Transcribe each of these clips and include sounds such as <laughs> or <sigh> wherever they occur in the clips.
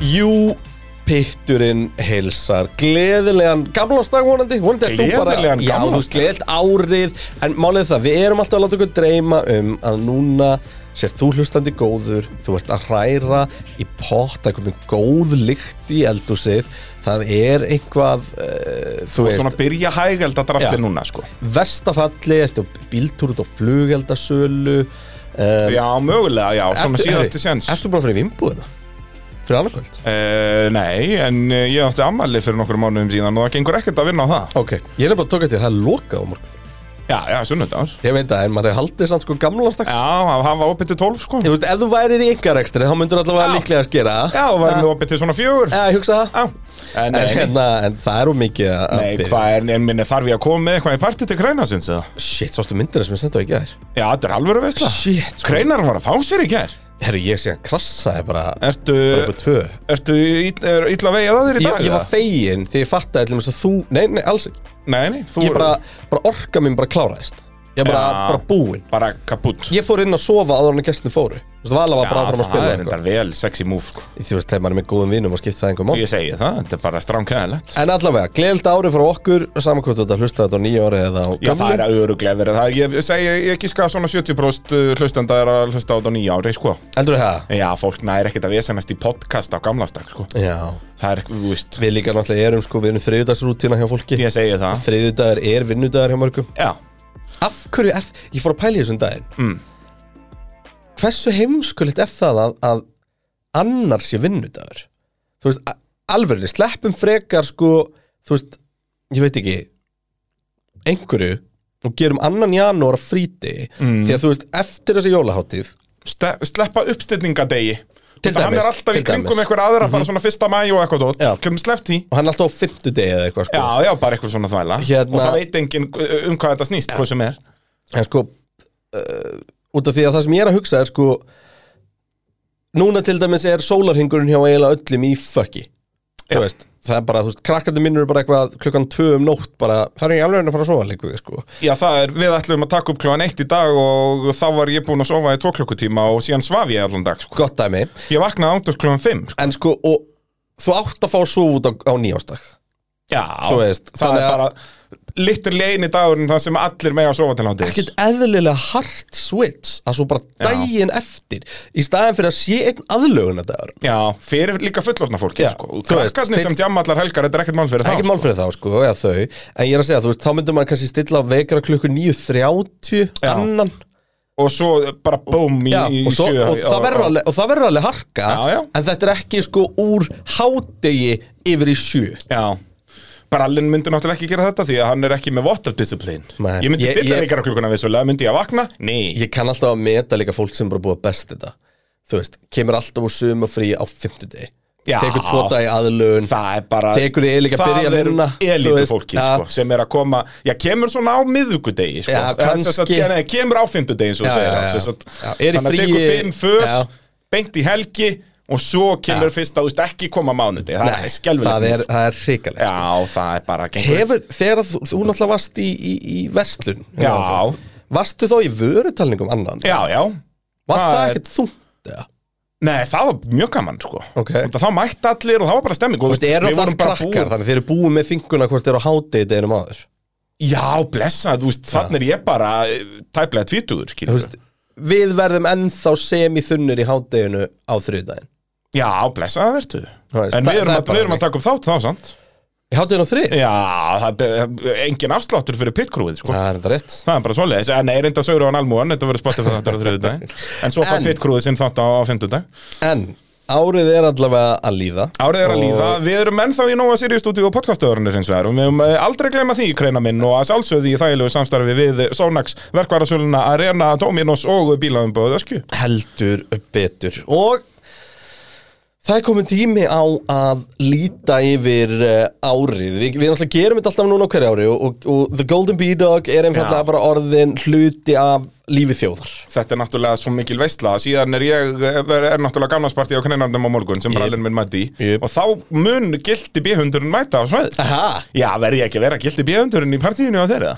Jú, pitturinn hilsar Gleðilegan gamlástag vonandi Vonandi ert þú bara- Gleðilegan Já, þú veist, gleðilt árið En málið er það, við erum alltaf að láta okkur dreyma um Að núna sér þú hlustandi góður Þú ert að hræra í pott Það er komin góð lykt í eldhúsið Það er einhvað uh, Þú og veist, svona byrja hægælda Já. drastli núna sko. vestafalli Ertu á bíltúr út á flugeldasölu Já, mögulega, já, svona síðasti séns Um, Ertu bara fyrir vimbúðina? Fyrir annarkvöld? Uh, nei, en uh, ég átti ammæli fyrir nokkrum mánuðum síðan og það gengur ekkert að vinna á það Ok, ég er bara að tóka til að það er lokað á morgun Já, já, sunnudagur Ég veit það, en maður hefði haldið samt sko gamla slags Já, hann hann var opið til 12 sko Þú veist, ef þú værir í yngarekstri, þá myndur allavega Já. líklega að skera það Já, varum við opið til svona fjögur Já, ég hugsa það Já, en, En, en, hérna, en það er úr mikið að að nei, biðja. hvað er, en minni þarf ég að koma með eitthvað í partí til kræna sinns eða? Shit, sástu myndina sem ég sendi á í gær Já, þetta er alveg að veist það Shit, sko Krænar var að fá sér í gær Herru, ég sé að krassaði bara Ertu, bara upp á tvö ertu ít- er illa vegið að þér Eh, í Ég, dag? ég var eða? fegin því ég fattaði til þess að þú Nei, nei, alls ekki Nei, nei, þú Ég bara, bara orka mín bara kláraðist Ég bara, Já. bara búinn bara kaputt Ég fór inn að sofa áður en að gestin fóru Þú veist, Vala var bara áfram að það spila hérna. er eitthvað. þetta vel sexy move sko Þú veist, þegar maður er með góðum vinum og skipta það einhver mál Ég segi það, þetta er bara stránkæðilegt En allavega, gleðilt árið frá okkur saman hvort þú ert að hlusta þetta á nýja árið eða á Já, það er gamlu að öruglega verið það Ég segi, ég gíska að svona 70% hlustenda er að hlusta á þetta á nýja ári, sko Eldur það? Já, fólk næri ekkert að vesennast í podcast á gamlastak, sko Já Það er, þú veist, Við líka náttúrulega erum sko, við erum þriðudagsrútína hjá fólki ég segi það Þriðudagar er vinnudagar hjá mörgum Já, Af hverju er, ég fór að pæla í þessum daginn mm. Mm. Hversu heimskulegt er það að, að annars sé vinnudagur? Þú veist, alveg, sleppum frekar sko, þú veist, ég veit ekki einhverju og gerum annan janúar að fríti Mm. því að þú veist, eftir þessi jólaháttíð Ste sleppa uppstillingadegi Til Þetta, Hann dæmis, er alltaf í til kringum dæmis. Mhm. einhver aðra, bara svona fyrsta mæ og eitthvað dót Já. Kjöfum sleppt í og hann er alltaf á fimmtudegi eða eitthvað sko. Já, já, bara eitthvað svona þvæla Hérna- Og það veit enginn um hvað þetta snýst, hvað sem er en sko uh, út af því að það sem ég er að hugsa er sko núna til dæmis er sólarhingurinn hjá eiginlega öllum í fökki þú Já. veist, það er bara, þú veist, krakkandi mínur er bara eitthvað klukkan tvö um nótt, bara það er ekki alveg að fara að sofa líka við, sko Já, það er, við ætlum að taka upp klóðan eitt í dag og þá var ég búin að sofa í tvo klukkutíma og síðan svaf ég allan dag, sko gott dæmi, Ég vaknaði ándur klóðan 5, sko en sko og þú átt að fá svo út á, á nýjástak Já, Þú veist, það þannig er að- bara litlir leini dagurinn það sem allir mega að sofa til hátis ekkert eðlilega hart switch að svo bara Já. daginn eftir í staðin fyrir að sé einn aðlögunadagur Já, fyrir líka fullorðna fólki, Já, sko þú veist, Krakkarnir þeir- sem djamma allar helgar, þetta er ekkert mál fyrir Það er þá ekki mál fyrir þá sko, eða þau En ég er að segja, þú veist, þá myndum maður kannski stilla á vekra klukku 9.30 Já. annan Og svo bara bóm í, já, í og, svo, sjö og, það verður alveg, og það verður alveg harka Já, já. En þetta er ekki sko úr hádegi yfir í sjö Já, Brallinn myndi náttúrulega ekki gera þetta því að hann er ekki með water discipline Nei. Ég myndi Ég- stilla ég- leikara klukkuna vissulega, myndi ég að vakna? Nei, Ég kann alltaf að meta líka fólk sem bara búið að best þetta Þú veist, kemur alltaf úr sömu frí á fimmtudegi Já. Tekur tvo dagi aðlun það er bara Tekur þið líka að byrja að vinna, Það er þú elitu veist, fólki, já. sko, sem er að koma Já, kemur svona á miðvikudegi, sko Já, Eða sem sagt, kannski. ja, nei, Kemur á fimmtudegi, svo Já, segir já, það já. sem sagt. Já, er í Þannig að fríi- tekur fimm Já. fös, beint í helgi Og svo kemur fyrst að, þú veist, ekki koma á mánudegi Það Nei, er skelfilegt það er, það er hrikalegt sko. Já, það er bara gengur Hefur, þegar þú, þú náttúrulega varst í, í, í verslun Já. Varstu þá í vörutalningum annan? Já, já Var það það er- ekkert þungt? eða? Nei, það var mjög gaman, sko Ok. Út að Þá mætti allir og það var bara stemming Þú veist, eru alltaf krakkar, þannig þeir eru búið með þinguna hvort þeir eru á hátegi deginum aður. Já, blessa, þú veist, þannig er ég bara eh, tæplega tvítugur, Þú skilur veist, við verðum ennþá semi-þunnir í háteginu á þriðdægin. Já, blessa það verður Þú veist, En það- við erum, það er að, bara við erum að taka upp þátt þá, samt Í háteginu á þrið? Já, það er be- engin afsláttur fyrir pitkrúið, sko Það er enda rétt. Það er bara svoleiðis, en nei, reynda sögur á hann almúan, þetta verður spottið fyrir þáttur á <laughs> þriðu dag En svo En- fær pitkrúið sinn þátt á, á fymtudag En árið er allavega að líða. Árið er að Og- líða, við erum ennþá í Nóa Sirius stúdíu og podcastöðurinnir hins vegar og við höfum eh, aldrei glema því, kreina minn og að sjálfsögði í þægilegu samstarfi við Sónax, verkvarasöluna Arena, Dominos og bílaðumbóð Öskju. Heldur betur. Og það er komin tími á að líta yfir eh, árið. Vi, við náttúrulega gerum þetta alltaf núna á hverju ári og, og, og The Golden B-Dog er einfallega Já. bara orðin hluti af lífi þjóðar. Þetta er náttúrulega svo mikil veistla síðan er ég, er, er náttúrulega gamlansparti á kneinarnum á morgun sem Jep. brallinn minn mætti í Jep. og þá mun gildi bíhundurinn mæta á sveið. Aha, Já, verð ég ekki að vera gildi bíhundurinn í partíinu á þeirra?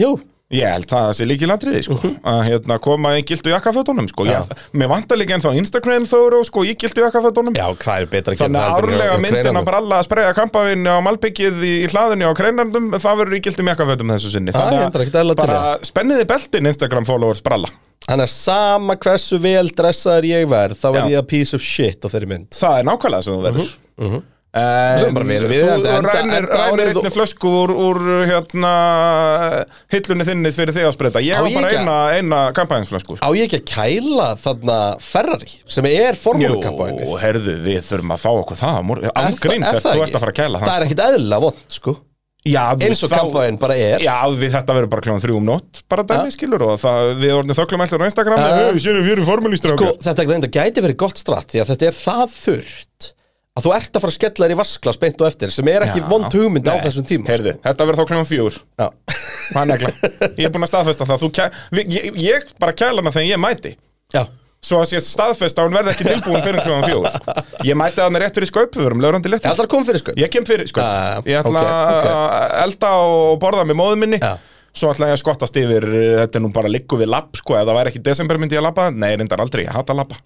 jú. Ég held það sé líkilandriði, sko að hérna, koma í gildu jakkafötunum, sko Mhm. Já. ég, Mér vantar líka ennþá Instagram fóru, sko, í gildu jakkafötunum Já, hvað er betra að gera Þannig að heldur en árlega myndin kreinanum? að bralla að spreja kampavín á malbyggið í, í hlaðinu á kreinandum það verður í gildum jakkafötum þessu sinni Ah, ég endur ekkert eðlilega til bara spenniði beltin Instagram followers bralla Þannig að sama hversu vel dressaður ég verð þá verð Já. ég a piece of shit á þeirri mynd það er nákvæmlega sem þú Mhm. verður Svo er bara vel En við þetta, þú enda- rænir, enda rænir árið og- einni flösku úr, úr hérna, hillunni þinni fyrir þig að spreita Á Ég á ég bara ekki? eina, eina sko. kampænsflösku Á ég ekki að kæla þarna Ferrari sem er formúlkampænið Jú, herðu, við þurfum að fá okkur það á morgun. Án gríns, ert- þú ert að fara að kæla Það er ekkit eðlilega vond, sko Já, við- Eins og þá- kampæn bara er Já, við þetta verður bara kljóðan þrjú um nótt bara dæmi skilur og það, við orðin þöglum alltaf á Instagram Já. uh, við, sérum, við erum formúlistrákar Sko, þetta reynda gæti verið gott stratt því að þetta er það þurrt að þú ert að fara að skella þér í vaskla spennt og eftir sem er ekki Já. vond hugmynd á Nei. þessum tíma Heyrðu, sko. þetta verður þá kljóðan fjúr Já. Ég er búin að staðfesta það Þú kæ, við, ég, ég bara kæla hana þegar ég mæti Já. Svo að sé staðfesta að hún verði ekki tilbúin fyrir kljóðan fjúr Ég mæti hana rétt fyrir sköpufurum, lögrandi Ég léttir ætla að koma fyrir sko Ég kem fyrir sko Ah, Ég ætla ok, ok. að elda og borða með móðu minni Já. Svo ætla ég að skottast yfir eh, Þetta er nú bara liggu við lapp sko Ef það væri ekki desember myndi ég að labba Nei, reyndar aldrei, ég hata að labba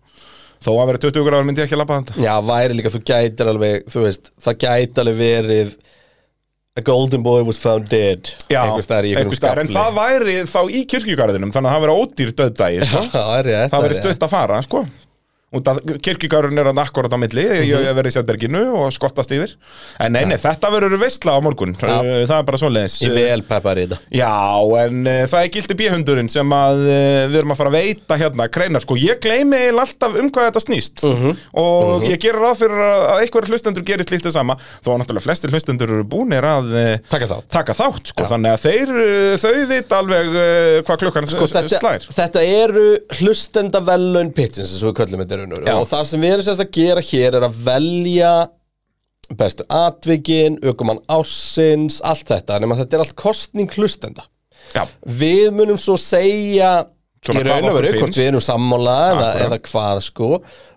Þó að vera 20 gráður myndi ég ekki að labba þetta Já, væri líka, þú gætir alveg, þú veist, það gæti alveg verið A golden boy was found dead einhvers staðar í einhverjum einhvers staðar, En það væri þá í kirkjugarðinum Þannig að það vera ódýr döðdægi sko. Já, <laughs> það er rétt Það það er verið rétt. stutt að fara sko. Út að kirkjugarðin er hann akkurat á milli Ég hef verið í Sjætberginu og skottast yfir En nei, nei, þetta verður veistla á morgun Eh, Það er bara svoleiðis Ég vel peppar í þetta Já, en uh, það er gildi bíhundurinn sem að uh, við erum að fara að veita hérna kreinar, sko, ég gleymi eiginlega alltaf um hvað þetta snýst Mhm. og ég gerir ráð fyrir að að einhverjir hlustendur gerir slíkt það sama, þó að náttúrulega flestir hlustendur eru búnir að uh, Taka þátt. taka þátt sko, þannig að þeir, uh, þau vita alveg uh, hvað klukkan Sko, sko, þetta, slær þetta eru hlustenda velun pitsins eins og við köllum þetta raunur Já. og það sem við erum sérst að gera hér er að velja bestu atvikin, aukumann ásins allt þetta, nema þetta er allt kostning hlustenda Já, við munum svo segja Svona í hvað raun og okkur veru, hvort finnst. við erum sammála eða, Akkurat. eða hvað sko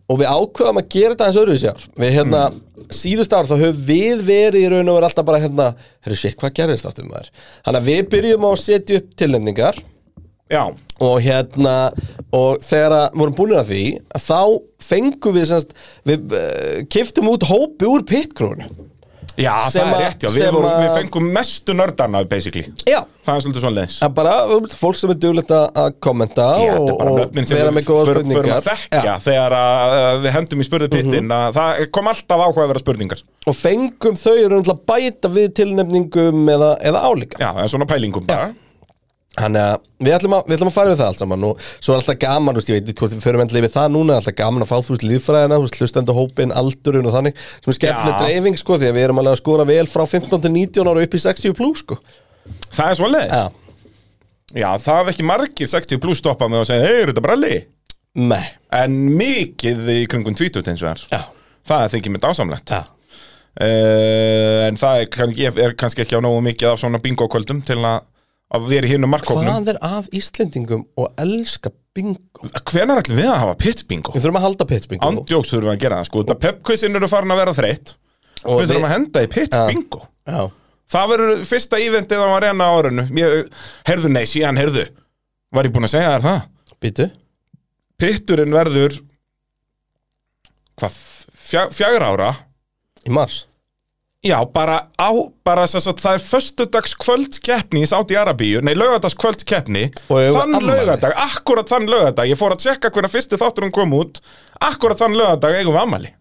og við ákveðum að gera þetta eins öðruvísi ár við hérna, Mm. síðust ár þá höfum við verið í raun og veru alltaf bara hérna herru shit, hvað gerðist áttum maður þannig að við byrjum á að setja upp tilnefningar já, og hérna og þegar að vorum búinir að því að þá fengum við semst, við uh, kiftum út hópi úr pitkrúnu já Sem það er að- rétt, já, sem við, vorum, að- við fengum mestu nördana basically, já það er svolítið svoleiðis að bara um, fólk sem er duglegt að að kommenta Já, þetta er og, bara og nöfnin sem vera við með góða förum- förum spurningar Mhm. að þekkja þegar að, að við hendum í spurðupittin að það kom alltaf áhugaverða spurningar og fengum þau eru að bæta við tilnefningum eða, eða álíka Já, en svona pælingum bara þannig að við ætlum að, við ætlum að fara við það allt saman og svo er alltaf gaman, þú veist, ég veit ekki hvort við förum endlega við það núna, alltaf gaman að fá þú veist líðfræðina, þú veist, hlustendahópin, aldurinn og þannig sem er skemmtileg Já. dreifing, sko, því að við erum alveg að skora vel frá 15 til 19 ára upp í 60 plus, sko Það er svoleiðis Já. Já, það hafa ekki margir 60 pluss stoppað með að segja Hei, er þetta bralli? Nei, En mikið í kringum tvítut eins og þar já, Það er þykir mér dásamlegt já uh, En það er, kann, ég er kannski ekki á nógu mikið af svona bingo-kvöldum til að, að vera í hinum markkóknum Hvað er að Íslendingum og elska bingo? Hvenær ætlum við að hafa pitt-bingo? Við þurfum að halda pitsbingo Andjóks þurfum við að gera það sko Þetta pepquisin eru farin að vera þreytt og Við þurfum að henda í pitt-bingo Já, Það verður fyrsta ívendið á arena á árinu Ég- Heyrðu, nei, síðan, heyrðu Var ég búinn að segja þér það? býtu pitturinn verður hvað, fjag, fjagra ára Í mars já, bara á, bara þess að það er föstudags kvöldkeppni í Sáti Arabíu, nei, laugardags kvöldkeppni Og eigum við þann afmæli? laugardag, akkurat þann laugardag ég fór að tjekka hvernig fyrsti þátturinn kom út akkurat þann laugardag eigum við ammali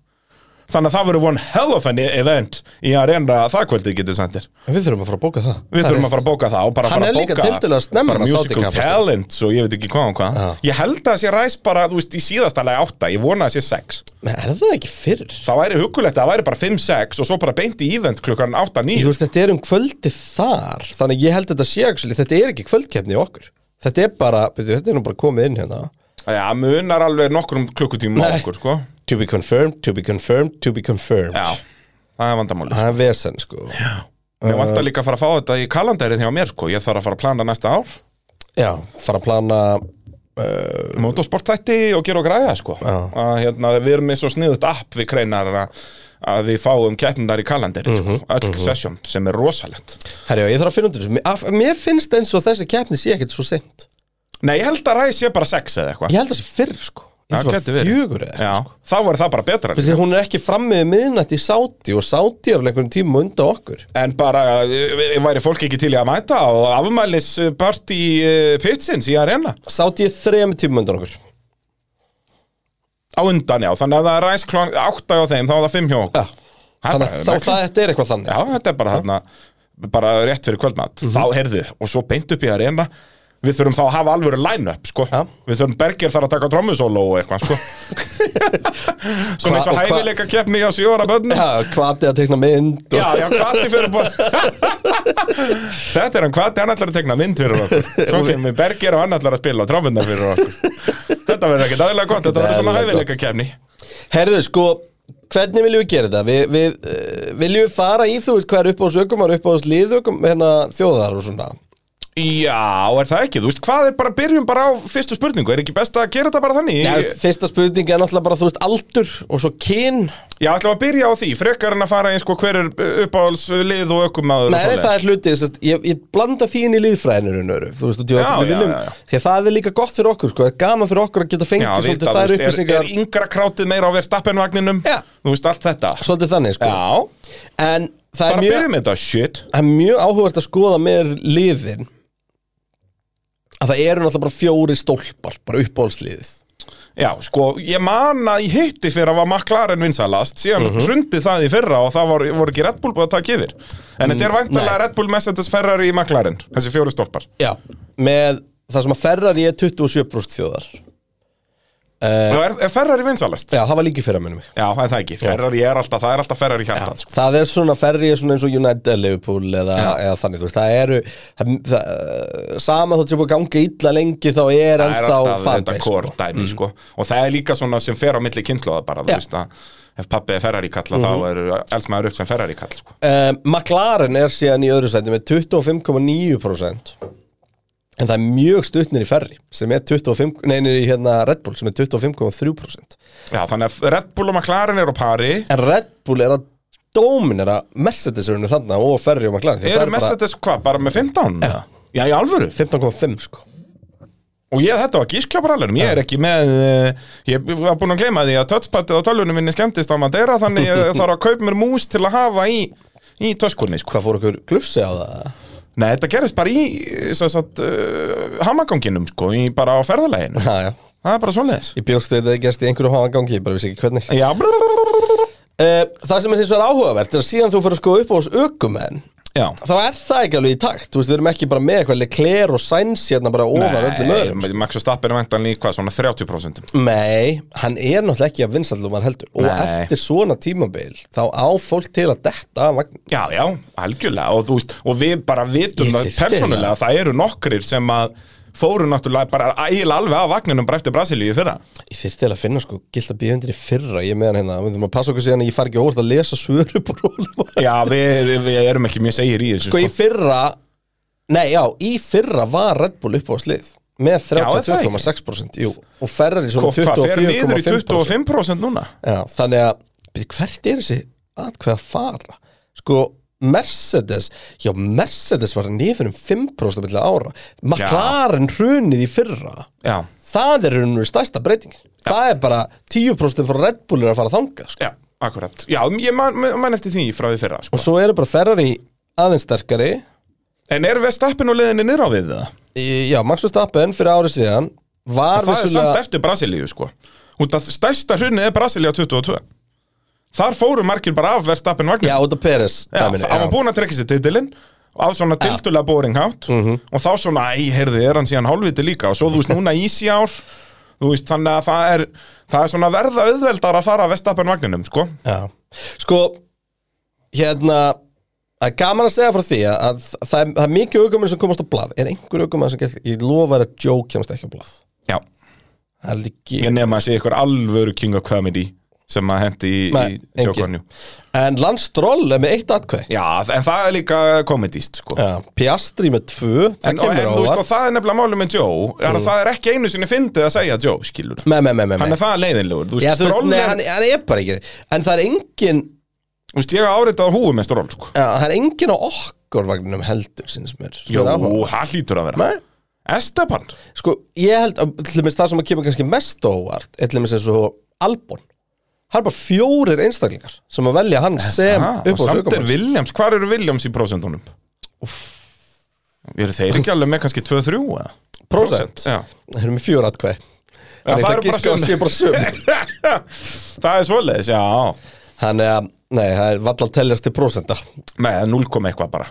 þannig að það verður one hell of an event í að reynda það kvöldið getur sendir En Við þurfum að fara að bóka það Við Það er þurfum að rétt. fara að bóka það og bara Hann fara að er líka bóka tiltölulega snemma að sá bara til musical kappaksturs. talent og ég veit ekki hvað og hvað Já. Ég held að það sé ræs bara, þú veist, í síðasta lagi átta Ég vona að það sé sex Men er það ekki fyrr? Það væri hugulegt að það væri bara 5-6 og svo bara beint í event klukkan Þú 8-9 veist, þetta er um kvöldi þar Þannig að ég held að þetta sé actually, Þetta er ekki kvöldkeppni í okkur Þetta er bara, veitu, þetta er nú bara komið inn hérna Já, munar alveg nokkrum klukkutímum á Nei. okkur, sko To be confirmed, to be confirmed, to be confirmed Já, það er vandamáli Það er vesen, sko Já, Uh, Mér vantar líka að fara að fá þetta í kalandarið hjá mér, sko Ég þarf að fara að plana næsta ár fara að plana uh, Motorsportætti og gera og græja, sko að, hérna, Við erum með svo sniðut app við kreinar að, að við fáum keppninar í kalendari Mhm, sko, öll sesjón sem er rosalegt Herjá, ég þarf að finna út úr þessu. Mér- af- Mér finnst eins og þessi keppni sé ekkert svo seint. Nei, ég held að ræði sé bara sex eða eitthvað Ég held að það sé fyrr, sko. Ég held Já, að gæti það var verið. fjögur eða. Já, þá var það bara betra Þú veist, því að hún er ekki frammi við miðnætt í Sáti og Sáti er alveg einhvern tíma undan okkur. En bara, eh, væri fólk ekki til í að mæta og afmælisparti pitsins í arena Sáti er þrem tíma undan okkur. á undan, já, þannig að það er ræs klón átta hjá þeim, þá er það fimm hjá okkur Já. Þannig bara að þá, það, þetta er eitthvað þannig. Já, þetta er bara þarna bara rétt fyrir kvöldmatt, Mhm. þá heyrðu og svo beint upp í arena við þurfum þá að hafa alvöru line-up, sko Já. við þurfum Berger þar að taka trommusólo og eitthvað, <laughs> sko Hva- svona eins og og hva- hæfileika keppni á sjóra börnum Já, hvati að tekna mynd og... Já, já, hvati fyrir bara <laughs> Þetta er hann hvati, hann ætlar að tekna mynd fyrir okkur Svo kemur Berger og hann ætlar að spila trommundar fyrir okkur <laughs> Þetta verður ekkert aðeinslega gott, þetta verður svona Aðeinslega gott. hæfileika keppni Herðu, sko, hvernig viljum við gera þetta? Vi, við uh, viljum við fara í þú veist hver upp á sökumar, upp á sliðökum hérna, þjóðar og svona Já, er það ekki, þú veist, hvað er bara, byrjum bara á fyrstu spurningu, er ekki best að gera þetta bara þannig? Já, þú veist, Fyrsta spurning er náttúrulega bara, þú veist, aldur og svo kyn Já, ætlum við að byrja á því, frekar en að fara eins og hver er uppáhalslið og Nei, ökumaður og nei, svoleiðis. það er hluti, sest, ég, ég blanda því inn í liðfræðinu raunveru, þú veist, út í Já, okkur við já, viljum, já, já. því að það er líka gott fyrir okkur, sko, það er gaman fyrir okkur að geta Já, fengið svolítið vita, þú þær veist, er, upplýsingar, er yngra krátið meira á verðstappenvagninum? Já. Þú veist, allt þetta svolítið þannig, sko, Já, en það bara er mjög, byrjum með þetta, shit það er mjög áhugavert að skoða með liðin að það eru náttúrulega bara fjóri stólpar bara uppáhaldsliðið Já, sko, ég man að ég hitti fyrir að var McLaren vinsalast síðan Mhm. hrundi það í fyrra og það var, voru ekki Red Bull búið að taka yfir En þetta Mm, er væntanlega Red Bull Mercedes Ferrari í McLaren, þessi fjóru stólpar Já, með það sem að Ferrari er 27% þjóðar Eh. Og er, er Ferrari vinsalast? Já, það var líki fyrra minnum mig Já, það er það ekki, Ferrari er alltaf, það er alltaf Ferrari hjartað sko. Það er svona, Ferrari er svona eins og United eða Liverpool eða, eða þannig, þú veist, það eru það, það, sama þótt sem búið að ganga illa lengi þá er það er ennþá alltaf þetta fanbase core sko. dæmi sko. og það er líka svona sem fer á milli kynnslóða bara, þú Já. veist að ef pappi er Ferrari kalla þá er eldsmaður upp sem Ferrari kall sko. uh, McLaren er síðan í öðru sæti með 25,9% en það er mjög stuttnir í Ferrari sem er 25, nei, nei, í hérna Red Bull sem er 25,3% Já, þannig að Red Bull og McLaren eru á pari en Red Bull er að dóminera Mercedes-urinu þarna og Ferrari og McLaren því það eru Mercedes hvað, bara með 15? Já, já í alvöru bara 15,5 sko og ég þetta var gískjáparalunum, ég er ekki með eh, ég var búin að gleyma því að touchpadið á tölvunum minni skemmtist á Madeira þannig ég þarf að kaupa mér mús til að hafa í í töskunni sko. hvað fór okkur glussi á það? Nei, þetta gerist bara í eh, sem sagt, uh, hamaganginum sko, í, bara á ferðaleginu Já, já, það er bara svoleiðis ég bjóst við þetta gerst í einhverju hafa gangi, ég bara vissi ekki hvernig Já, blablabla. uh, Það sem er hins vegar áhugavert er að síðan þú fyrir að skoða upp á oss ökumenn Já. þá er það ekki alveg í takt, þú veist, við erum ekki bara með eitthvað kler og sæns hérna bara ofar öllum öðrum Nei, Max Verstappen er væntan líka svona 30% Nei, hann er náttúrulega ekki að vinsallum hann heldur og Nei. eftir svona tímabil þá á fólk til að detta af vagn- Já, já, algjörlega og, þú veist, og við bara Ég vitum það þyrfti persónulega eiginlega- að það eru nokkrir sem að fóru náttúrulega bara ægilega alveg af vagninum bara eftir Brasilíu í fyrra Ég þyrfti eiginlega að finna sko gilt að býða undir í fyrra ég er með hann hérna, við þurfum að passa okkur síðan að ég far ekki óvart að lesa svörubrónum Já, við, við- við erum ekki mjög segir í þessu Sko í fyrra Nei já, í fyrra var Red Bull upp á slið Með Já, er það ekki? 32,6% Jú, og Ferrari svona Og Hvað fer niður í 24,5% 25% núna? Já, þannig að byrju, Hvert er þessi atkvæða fara? Sko, Mercedes Já, Mercedes var niður um 5% milli ára McLaren hrunið í fyrra Já, Það er rauninu stærsta breytingin Það er bara 10% frá Red Bull er að fara að þanga sko. já, akkurat Já, ég man, man eftir því frá því fyrra sko. Og svo eru bara Ferrari aðeins sterkari En er Verstappen og leiðinni niður á við það? Í- Já, Max Verstappen fyrir árið síðan Var það er vissulega- samt eftir Brasilíu sko Út að stærsta hrunni er Brasilíu 22 Þar fóru margir bara af verðstappin vagnin Já, út af Peres dæminu, hann var búin að trekka sér titilinn á svona tildulega boring hátt Mhm. og þá svona, æ, heyrðu, er hann síðan hálfviti líka og svo þú veist núna ísi ár þú veist, þannig að það er það er svona að verða auðveldar að fara að verðstappin vagninum sko, Já. Sko, hérna Það er gaman að segja frá því að, að það, er, það er mikið aukumenn sem komast á blað Er einhver aukumenn sem gæti, ég lofa þér að Joe kemst ekki á blað já, Það er líki ég nefn að sé ykkur alvöru king of comedy sem að hendi í, Nei, í engin. sjókonju En Lance Stroll er með eitt atkvæð já, en það er líka komedist sko Já, Piastri með tvö, það En, og, kemur á en þú veist, og óvart. Mm. það er nefnilega málið með Joe er að það er ekki einu sinni fyndið að segja Joe, skilur Nei, nei, nei, nei, Hann nei. er það leiðinlegur, þú Já, veist, þú veist, Stroll nei, er hann, hann er bara ekki En það er engin Þú veist, ég áreitað húfu með stról, sko Já, það er engin á okkur vagninum heldur, sinns mér Sem Jú, er áhugavert. það hlýtur að vera Nei, Estaban Sko, ég held að til dæmis það sem að kemur kannski mest á óvart er til dæmis eins og Albon Það er bara fjórir einstaklingar sem að velja hann sem Ah, og upp á samt er Williams, hvar eru Williams í prósentunum? Eru þeir ekki alveg með kannski 2-3 eða? Prósent Já. Það erum við fjör atkvæði Já, það eru bara sum. bara <laughs> söm það er svoleiðis, já Þannig að, nei, það er vallal teljast til prósenta með 0, koma eitthvað bara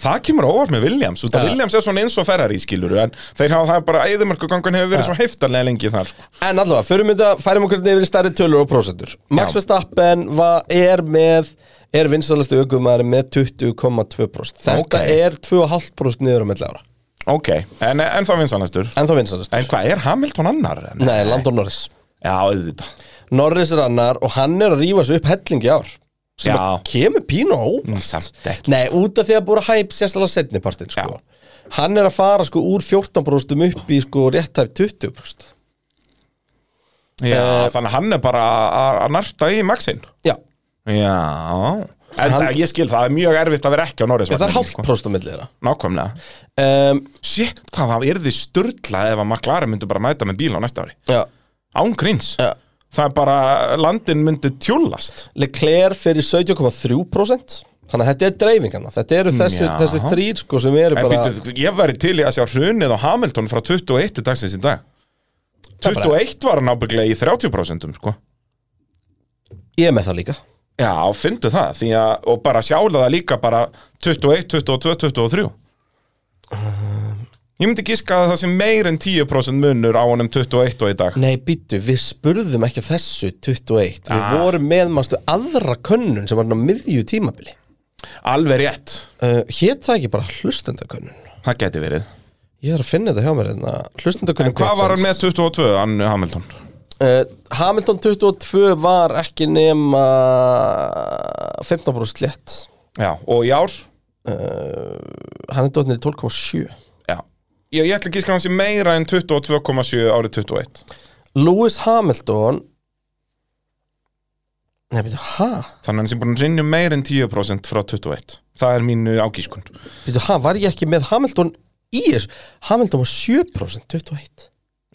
það kemur á óvart með Williams ja. Mm. Ja. Williams er svona eins og Ferrari skilur en þeir hafa það bara æðumörkugangan hefur verið ja. svo heiftarlega lengi þar sko. En allavega, förum við það, færum okkur nefnir í stærri tölur og prósentur Max Já. Verstappen va, er með, er vinsalasti aukumæður með 20,2% Þetta Ok. er 2,5% niður á milli ára ok, en, en það vinsanastur En það vinsalasti en hvað er Hamilton annar? En, Nei, Landon Norris já, auðvitað Norris er annar og hann er að rífa sig upp helling í ár sem Já. að kemur pínu á óvart. Mm, samt ekki Nei, út af því að búið að hæp sérstaklega setni partin sko. Hann er að fara sko úr 14% upp í sko réttæf 20% Eh, já, þannig að hann er bara að- að narta í Maxin Já, Já En Hann- ég skil það, það er mjög erfitt að vera ekki á Norris sko. það er hálft próstum millir það Nákvæmlega um, Shit, hvað það er því sturla ef að McLaren myndi bara mæta með bíl á næsta ári Já, Án gríns já Það er bara, landin myndi tjúllast Leclerc fyrir 17,3% Þannig að þetta er dreifingarna Þetta eru þessi, Já. þessi þrýr sko sem eru En bara býtu, ég væri til í að sjá hrunið á Hamilton frá 21 til dagsins í dag Það er bara- 21 var hann ábygglega í 30% sko Ég er með það líka Já, fyndu það, því að, og bara sjála það líka bara 21, 22, 23 Ég myndi gíska að það sem meir en 10% munur á honum 21 og í dag Nei, býttu, við spurðum ekki að þessu 21 Við Ah. vorum með mannstu aðra könnun sem var hann á miðju tímabili Alveg rétt, uh, Hét það ekki bara hlustendakönnun? það geti verið Ég er að finna þetta hjá mér hérna Hlustendakönnun En hvað var hann með kvöldsins. 22, hann Hamilton? Uh, Hamilton 22 var ekki nema 15% létt Eh, Já, og í ár? Hann er dóttinir í 12,7 Já Ég, ég ætla að gíska að hann sem meira en 22,7 árið 21 Lewis Hamilton Nei, býttu, ha? Þannig að hann sem búin að rinja meir en 10% frá 21 Það er mínu ágískund Býttu, ha? Var ég ekki með Hamilton í þessu? Hamilton var 7% 21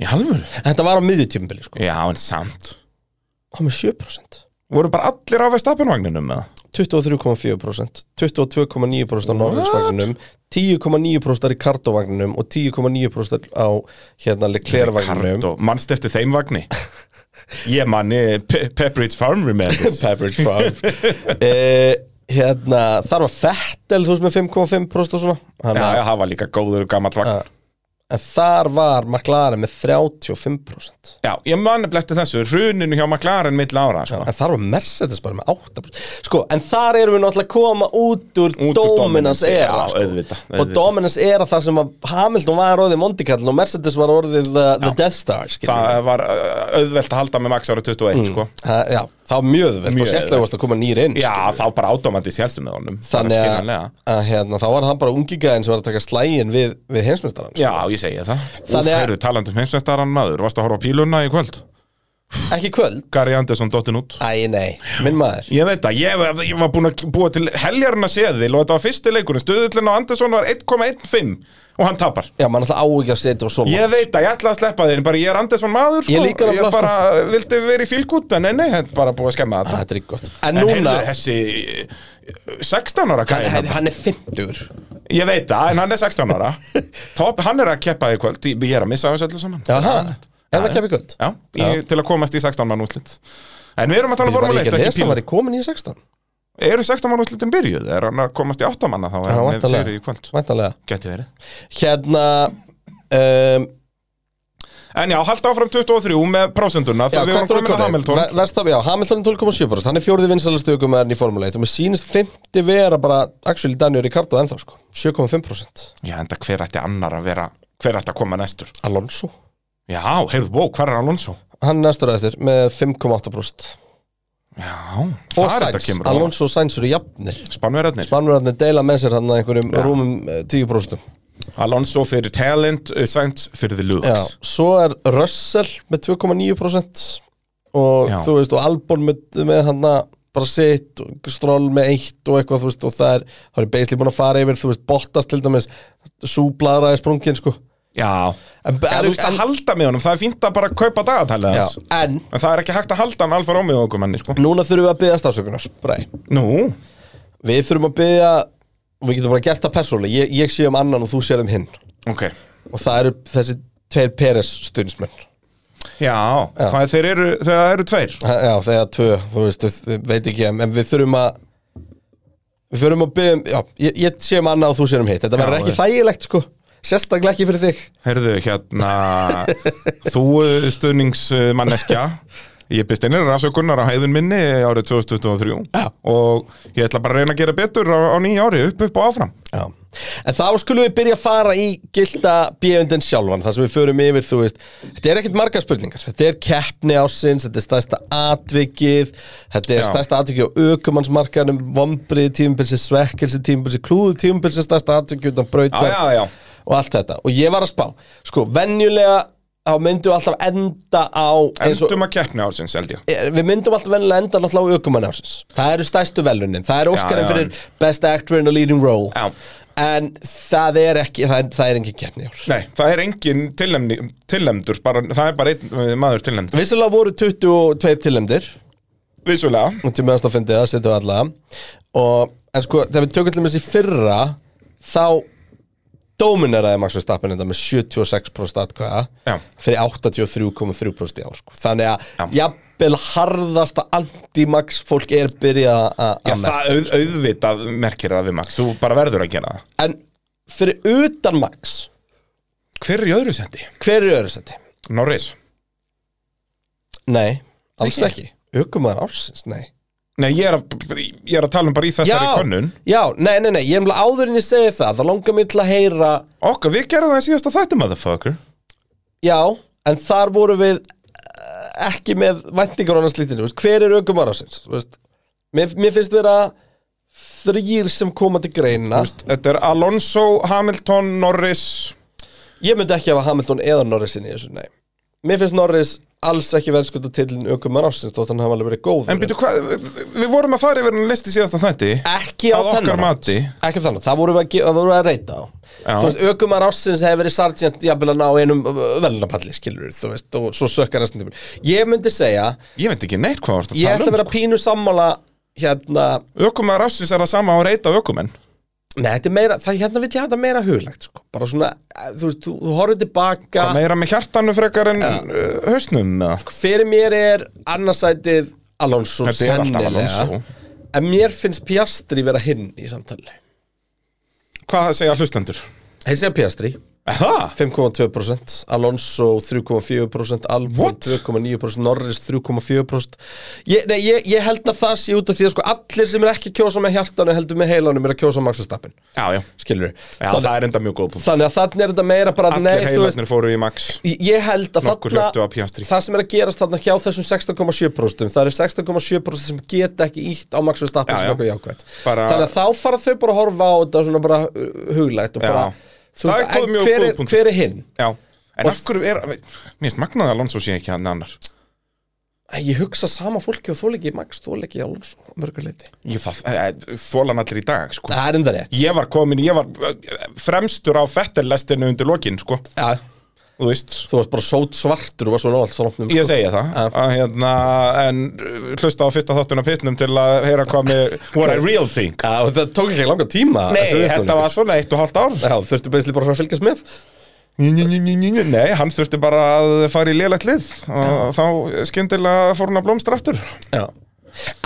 Í halvöru? Þetta var á miðjutímabili, sko Já, en samt Hann með 7% Voru bara allir á vestapinvagninum með það? 23,4% 22,9% á Norðinsvagninum 10,9% á Ricardo-vagninum og 10,9% á hérna Leclerc-vagninum Ricardo, mannst eftir þeim vagni Ég manni Pe- Pepperidge Farm <laughs> Remembers Pepperidge <laughs> Farm eh, Hérna, þar var Fettel þú veist með 5,5% og svona Já, Þannig já, að- það var líka góður og gammal vagn En þar var McLaren með 35% Já, ég manni eftir þessu, runinu hjá McLaren mill ára, sko En þar var Mercedes bara með 8% Sko, en þar erum við náttúrulega að koma út úr, úr dominance, Dominance era já, sko. auðvitað, Og auðvitall. Dominance era þar sem að Hamilton var orðið Mondikallin og Mercedes var orðið The, the Death Star skilur við. Það var uh, auðvelt að halda með Max ára 21, Mm. sko Ha, Já, það var mjög vel Mjög og sérstaklega auðvelt. varst að koma nýr inn Já, skilur við. þá bara átómandi sjálfstum með honum Þannig Það er að, skiljanlega. að hérna, þá var hann bara ungigæðin sem var að taka slægin við, við heimsmyndarann Já, ég segi það Þannig Þannig að- að Úferðu talandum heimsveistaran um maður, varst að horfa á píluna í kvöld Ekki í kvöld? Gary Anderson dottin út Æ, nei, minn maður Ég veit það, ég, ég var búin að búa til heljarna seðil og þetta var fyrsti leikurinn Stöðullin á Andersson var 1,15 og hann tapar Já, maður náttúrulega á ekki að setja og svo Ég veit það, ég ætla að sleppa þeirn, bara ég er Andersson maður sko. Ég líka ég nefnilega, bara vildi verið í fílgút en nei, nei, þetta er bara búið að skemma þetta Ah, Þetta er ekki gott En, En núna, heyrðu, þessi 16 ára hann, gæði hann, hann er 50 Ég veit það, en hann er 16 ára <laughs> Top, Hann er að keppa í kvöld, ég ég er að missa þessu öllu saman Jaha, er hann að keppa í kvöld? Já, í, til að komast í 16 mann úrslit En við erum að tala um Var Formule ég 1, ekki að ekki lesa, píl var ég komin í 16? Eru 16 mann úrslitin byrjuð? Er hann að komast í 8 manna þá? Já, ef við væntanlega. segir í kvöld Væntanlega Gæti verið Hérna, um, En já, halda áfram 23 með prósenduna já, Þegar við erum komin að Hamilton Verstaf, já, Hamilton er 12,7% Hann er fjórði vinsalast aukumæðurinn í Formule 1 og mér sýnist 50 vera bara actually Daniel Ricardo ennþá sko 7,5% Já, enda hver ætti annar að vera Hver ætti að koma næstur? Alonso Já, heyrðu, wow, hver er Alonso? Hann er næstur eftir með 5,8% Já, Og það er þetta Sainz, kemur Alonso og Sainz eru jafnir Spannverðarnir Spannverðarnir deila með sér hann að einhverjum Já. rúmum eh, 10% Alonso fyrir talent, eh, Sainz fyrir the Já, looks svo er Russell með 2,9% og Já. þú veist, og Albon með, með hann að bara sitt og stról með eitt og eitthvað þú veist og það er, þá er ég beisli búin að fara yfir þú veist, Bottas til dæmis súblaðra er sprungin sko Já, En- Já, þú veist að halda með honum, það er fínt að bara kaupa dagatalið Já, hans en En það er ekki hægt að halda hann alfa rómið okkur manni, sko núna þurfum við að byggja stafsökunar Bræ. Nú, Við þurfum að byggja og við getum bara gert það persónulega ég, ég sé um annan og þú sér um hinn ok og það eru þessi tveir Peres stundsmenn Já, það er, þeir eru, þegar það eru tveir Já, þegar tvö, þú veist, við- veit ekki en en við þurfum að við þurfum að byggja um, já, ég, ég sé um annað og þú sé um hitt, þetta verður ekki já. þægilegt sko, sérstaklega ekki fyrir þig Herðu, hérna, <laughs> þú eh, stuðningsmanneskja Ég byrst einnig rannsökunar á hæðun minni árið 2023 Já. Og ég ætla bara að reyna að gera betur á, á nýja ári, upp, upp og áfram Já. En þá skulum við byrja að fara í gilda bjöndin sjálfan, þar sem við förum yfir, þú veist, þetta er ekkert margar spurningar, þetta er keppni ásins, þetta er stærsta atvikið, þetta er Já. stærsta atvikið á aukumannsmarkaðanum, vombriði tímubilsi, svekkelsi tímubilsi, klúðu tímubilsi, stærsta atvikið utan brautar Já, já, já. og allt þetta. Og ég var að spá, sko, venjulega þá myndum við alltaf enda á, eins og, Endum að keppni ársins, held ég Eh, við myndum alltaf venjulega enda náttúrulega á aukumann ársins. Það eru stærstu velunin, það er Óskarinn já, fyrir en- Best Actor in a Leading Role Já. en það er ekki það er, það er engin keppni í ár Nei, það er engin tilnefni- tilnefndur, bara, það er bara einn eh, maður tilnefnd vissulega voru 22 tilendir Vissulega, og til meðanst að fyndi það setjum við alla og, en sko, þegar við tökum til þessi fyrra þá domineraði Max Verstappen þetta með 76% atkvæða Já. fyrir 83,3% í ár sko. þannig Já. að jafnvel harðasta anti-Max fólk er byrjað að- að Já, að merkja. það auð, auðvitað merkir það við Max, þú bara verður að gera það en fyrir utan Max Hver er í öðru sendi? hver er öðursætti? Norris Nei, alls Ekki? ekki, Ökumar ársins, nei Nei, ég er, að, ég er að tala um bara í þessari könnun Já, nei, nei, nei, ég hef áður en ég segi það Það langar mér til að heyra Okkur, við gerum það í síðasta þætti, motherfucker Já, en þar voru við eh, ekki með væntingar á annars lítinu veist, Hver er ökum árásins? Veist, mér, mér finnst þeirra þrýr sem koma til greina Þetta er Alonso, Hamilton, Norris Ég myndi ekki hafa Hamilton eða Norrisin í þessu, nei Mér finnst Norris alls ekki verðskulda tillin ökum árásins Þótt hann hafa alveg verið góð En býtu hvað, við vorum að fara yfir hann list í síðasta þætti Ekki á Að okkar þennan hátt. mati. Ekki þannig, það vorum við að, ge- það vorum við að reyta á Já. Þú veist, ökumar ársins hefur verið sargent jafnvel að ná einum uh, velnapalli skilur þú veist, og svo sökkar restin tíma Ég myndi segja, Ég veit ekki neitt hvað varst að ég ætla að tala um vera pínu sammála hérna, sko. Ökumar ásins er það sama á að reyta ökumenn nei, þetta er meira það hérna vil ég hafa þetta meira huglegt, sko bara svona, eh, þú veist, þú, þú horfir tilbaka Það meira með hjartanu frekar en uh, hausnum eða Fyrir mér er annarsætið Alonso Þetta er alltaf sennilega. Alonso. En mér finnst Piastri vera hinn í samtali Hvað segja hlustendur? Þeir segja Piastri Aha. 5,2% Alonso 3,4% Albon What? 2,9% Norris 3,4% ég, nei, ég, ég held að það sé út af því að sko, allir sem er ekki að kjósa með hjartanu heldur með heilanum er að kjósa Max Verstappen Já, já, skilur við já það, er enda mjög góð punktur. þannig að þannig er þetta meira bara Allir nei, þú veist, heilarnir fóru í Max ég- ég held að Nokkur hjörtu þarna af Piastri það sem er að gerast þarna hjá þessum 16,7% það eru 16,7% sem geta ekki ítt á Max Verstappen Já, sem já. eitthvað jákvæmt Bara- þannig að þá fara þau bara að horfa á þetta svona bara uh, huglægt og Já. bara þú Það er veist, góð- en mjög hver góð er- punktur. hver er hinn? Já, en Og af hverju er Mér finnst magnaði að Alonso sé ekki hann annar Æ, Ég hugsa sama fólki og þóleiki Max, þóleiki Alonso á mörguleiti Ég það, eh, þola hann allir í dag sko. Það er enda rétt Ég var komin, ég var eh, fremstur á fettellestinu undir lokin sko. ja, Þú veist, Þú varst bara sót svartur og varst svona sko. allt framnum ég segja það að, hérna, En eh, hlusta á fyrsta þáttun á pitnum til að heyra hvað með What I real think ja, og Það tók ekki langa tíma Nei, þessi viðsnúningur. þetta var svona eitt og hálft ár Já, þurftu beinsli bara að fara að fylgjast með Nei, hann þurfti bara að fara í lélegt lið og þá skyndilega fór hann að blómstra aftur Já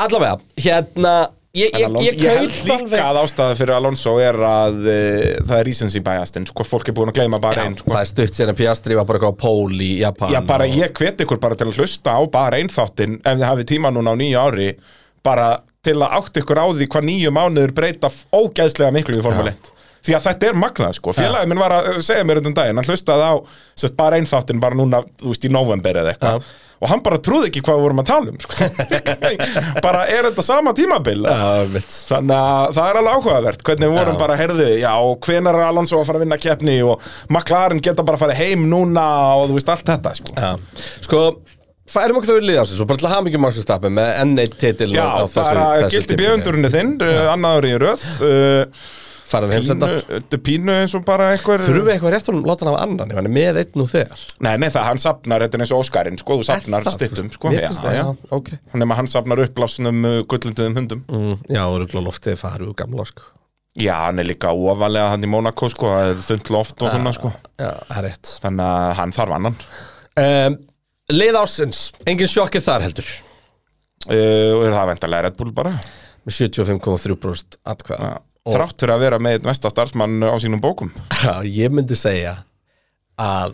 Allavega, hérna Ég, En ég, Alonso, ég, ég, held kaup líka alveg að ástæða fyrir Alonso er að e, það er recency biasinn, sko, fólk er búin að gleyma bara einn, sko. Það er stutt síðan að Piastri var bara eitthvað á pól í Japan Já, bara og- ég hvet ykkur bara til að hlusta á bara einn þáttinn ef þið hafið tíma núna á nýju ári, bara til að átt ykkur á því hvað nýju mánuður breyta f- ógeðslega miklu í Formule 1. Því að þetta er magnað, sko. Félagið minn var að ö, segja mér þetta um daginn, hann hlustaði á sest, bara einn þáttinn bara núna, þú veist, í november eða eitthvað. Og hann bara trúði ekki hvað við vorum að tala um, sko. <laughs> bara er þetta sama tímabil? eða? Já, mitt Þannig að það er alveg áhugavert hvernig við vorum Já. bara að herðu, já, hvenar er Alonso að fara að vinna keppni og McLaren geta bara að fara heim núna og þú veist allt þetta, sko. Já, sko færum okkur þau liða á sig, svo bara til að hafa mikið Max Verstappen með N1 titil Já, bara gildi bjöfundurinn þinn, uh, annaður í röð uh, Færum við heimsenda pínu, þetta er pínu eins og bara einhver Þurfum við eitthvað rétt að láta hann hafa annan ef hann er með einn og þegar Nei, nei, það hann safnar, þetta er eins og Óskarinn, sko, þú safnar Það, þú stittum, veist, sko Mér finnst það, já, ok Nefna hann safnar uppblásnum uh, gullinduðum hundum Mm, Já, það eru glóð loftið farið úr gamla, sko Já, hann er líka óvalega hann í Mónakó, sko, það er þund loft og Ah. svona, sko Já, það er rétt Þannig að hann þarf annan um, Leið ásins, engin sjokkið þar heldur uh, Og það vendarlega Red Bull bara Með 75,3% atkvæða og Þrátt fyrir að vera með einn mesta starfsmann á sínum bókum <laughs> ég myndi segja að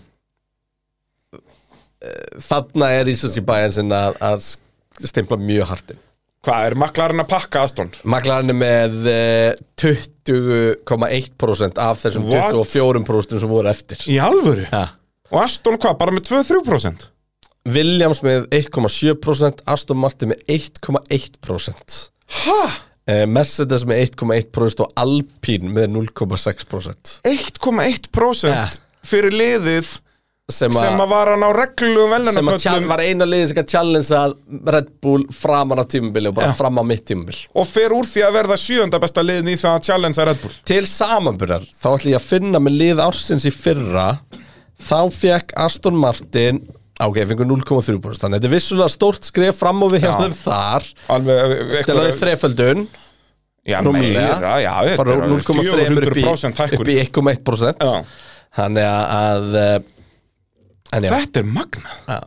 uh, þarna er Ísas í bæjan sinna að, að stimpla mjög hartinn Hvað, er maklarinn að pakka Aston? Maglarinn er með eh, 20,1% af þessum What? 24% sem voru eftir Í alvöru? ha. Og Aston hvað, bara með 2-3%? Williams með 1,7% Aston Martin með 1,1% Ha? eh, Mercedes með 1,1% og Alpine með 0,6% 1,1% Ja. fyrir liðið sem sem að að var hann á reglum sem að tjall, velunarköllum var eina liðið sem að challenge að Red Bull framan á tímubili og bara Já. fram á mitt tímubili og fer úr því að verða sjönda besta liðin í það að challenge að Red Bull Til samanbyrjar, þá ætla ég að finna með lið ársins í fyrra Þá fekk Aston Martin á, Ok, fengur 0,3% Þannig þetta er vissulega stórt skref fram og við hjá þeim þar alveg eh, Til að þið eitthvað þreföldun já, meira, Rúmlega já, þetta Fara er úr alveg 0,3 upp í, 400% upp hækkun í 1,1% Já. Þannig að eh, En já þetta er magna Já.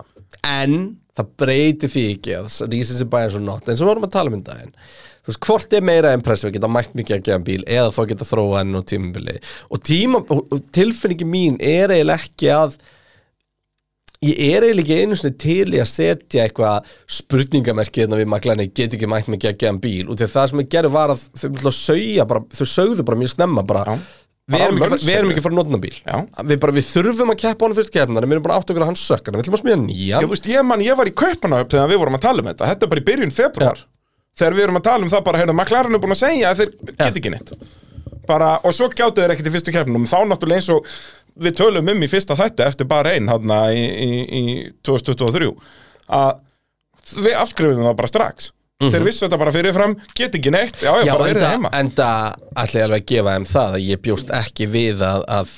En það breytir því ekki að rísins er bæðan svo not eins og við vorum að tala um í daginn þú veist, hvort er meira impressive, geta mætt mikið að gefa bíl eða þá geta þróa enn og tímabili og, tíma, og og tilfinningi mín er eiginlega ekki að ég er eiginlega ekki einu sinni til í að setja eitthvað spurningamerki þannig að við maklaðinni get ekki mætt mikið að gefa bíl og til það sem ég gerði var að þau, vildu að sauja bara, þau sögðu bara mjög snemma bara, Já. við, Bara erum ekki, lönnsögðu. við erum ekki að fara að notna bíl Já. við, bara, við þurfum að keppa á hann fyrst keppnar en við erum bara átt okkur að hann sökkar við ætlum að smíða nýja Já, þú veist, ég, man, ég var í kaupana upp þegar við vorum að tala um þetta Þetta er bara í byrjun februar Þegar við erum að tala um það bara, hérna, McLaren er búin að segja að þeir get ekki neitt bara, Og svo gjátu þeir ekkert í fyrstu keppnum Þá náttúrulega eins og við tölum um í fyrsta þætti Eftir bara einn, þarna, í, í, í 2023 Að við afskrifum það bara strax Þeir vissu þetta bara fyrirfram, get ekki neitt Já, Mhm. já, Já, bara verið það enda, heima enda ætla ég alveg að gefa þeim það að ég bjóst ekki við að, að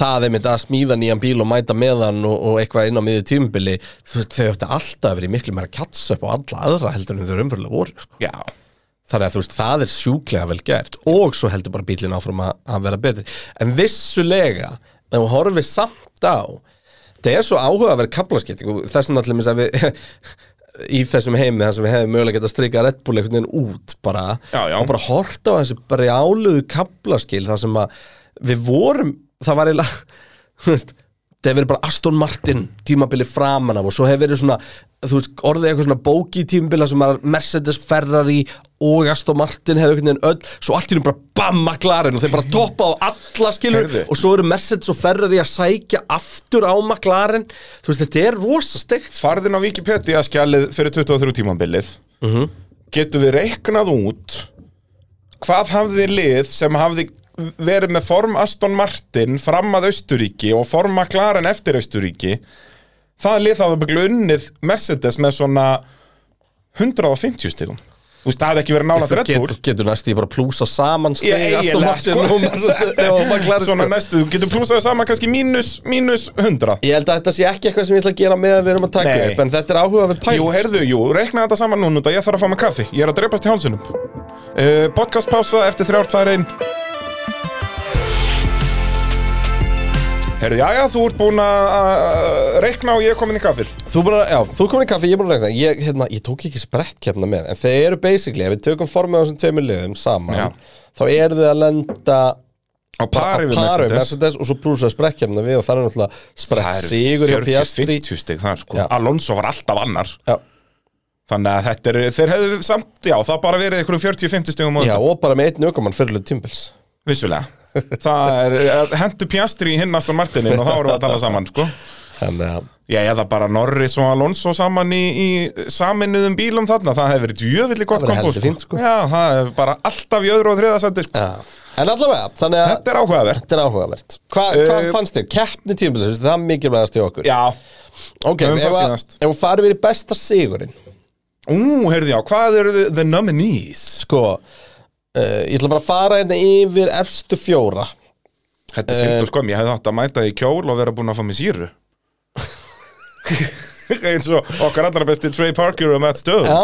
það er mitt að smíða nýjan bíl og mæta með hann og, og eitthvað inn á miðju tímubili þú veist, þau ættu alltaf að vera í miklu meira katsa upp á alla aðra heldur en þau umfyrirlega voru sko. Já, þannig að þú veist, það er sjúklega vel gert og svo heldur bara bílinn áfram að, að vera betri en vissulega, ef við horfið samt á það er svo áhuga að vera kaplaskipting og þessum náttúrulega að við <laughs> í þessum heimi þar sem við hefum mögulega getað að strika Red Bull einhvern veginn út bara Já, já. og bara horta á þessi brjáluðu kaplaskil þar sem að við vorum, það var eiginlega þú veist, það hefur verið bara Aston Martin tímabili framan af og svo hefur verið svona þú veist, orðið eitthvað svona bóki tímabila sem var Mercedes, Ferrari og Aston Martin hefur einhvern veginn öll svo allt í hennum bara bam, McLaren og þeir bara toppa á alla skilur Heyrðu. og svo eru Mercedes og Ferrari að sækja aftur á McLaren þú veist, þetta er rosa steikt farðin á Wikipedia skjalið fyrir 23 tímambilið Mhm. getum við reiknað út hvað hafði lið sem hafði verið með form Aston Martin fram að Austuríki og form McLaren eftir Austuríki það lið hafði bygglu unnið Mercedes með svona 150 stigum Þú veist, það hafði ekki verið nála þú Red Bull getur, getur næstu ég bara plúsa saman Ég- steg Aston eiginlega, Martin sko. og Mercedes og McLaren <laughs> Svona sko. næstu, þú getur plúsaði saman kannski mínus, mínus 100 Ég held að þetta sé ekki eitthvað sem ég ætla að gera með að við erum að taka Nei. upp En þetta er áhuga við pæl Jú, heyrðu, jú, reikna þetta saman núna út að ég þarf að fá mig kaffi Ég er að drepast í hálsunum uh, Podcastpása eftir þrjár, tvær, ein Heyrðu, já, já, þú ert búin að að reikna og ég er komin í kaffið Þú, bara, já, þú komin í kaffi, ég er búin að regna ég, hérna, ég tók ekki sprettkefna með En þeir eru basically, ef við tökum formið á þessum tveimur liðum saman Já. Þá eru þið að lenda Á pari við paru Mercedes Mercedes Og svo brúsa sprettkefna við og það er náttúrulega Það sprett eru sigur hjá Piastri 40-50 stig þar, sko Já. Alonso var alltaf annar já, Þannig að þetta er, þeir hefðu samt, já, það bara verið einhverjum 40-50 stigum á já, undan. og bara með einn aukumann fyrirlega tímbils Vissulega Það er, hendur Piastri í hinn Aston Martinin og þá erum við að tala saman, sko Þannig að Já, eða bara Norris og Alonso saman í, í saminuðum bílum þarna, það hefur verið djöfillig gott Það verður kombo, heldur fínt, sko. Já, það hefur bara alltaf í öðru og þriðasætti, sko. Já. En allavega, þannig að Þetta er áhugavert þetta er áhugavert Hva, Hvað Eh, fannst þér? Keppni tímabilsins, það er mikilvægast í okkur Já, Ok, höfum ef það að- síðast. ef hún farið verið besta sigurinn ú, heyrðu já, hvað eru the, the nominees? Sko, uh, ég ætla bara að fara hérna yfir efstu fjóra Þetta Eh. er sindur kom, ég hefði átt að mæta í kjól og vera búin að fá mér síru <laughs> Eins og okkar allra besti Trey Parker og Matt Stone Já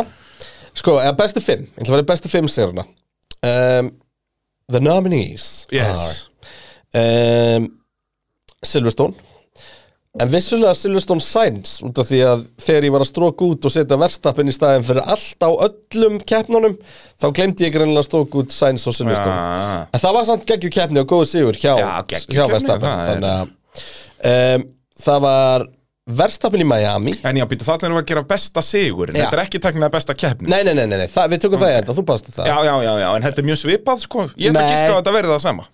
Sko, eða bestu fimm Ég ætla að fara í bestu fimm sigurina um, The nominees Ah, Yes. are um, Silverstone En vissulega Silverstone Sainz út af því að þegar ég var að stróka út og setja verstappin í staðin fyrir allt á öllum keppnunum þá glemdi ég greinlega að stróka út Sainz og Silverstone Ah, En það var samt geggju keppni og góðu sigur hjá, Já, geggjuð hjá keppni, Verstappen það er- Þannig að um, það var Verstappen í Miami En já, býttu, þarna erum við að gera besta sigur Já. Þetta er ekki teknilega besta keppni Nei, nei, nei, nei, nei. Það, við tökum það hérna, þú baðst um það Já, já, já, já, en þetta er mjög svipað, sko Ég ætla Nei. að gíska á að þetta verði það sama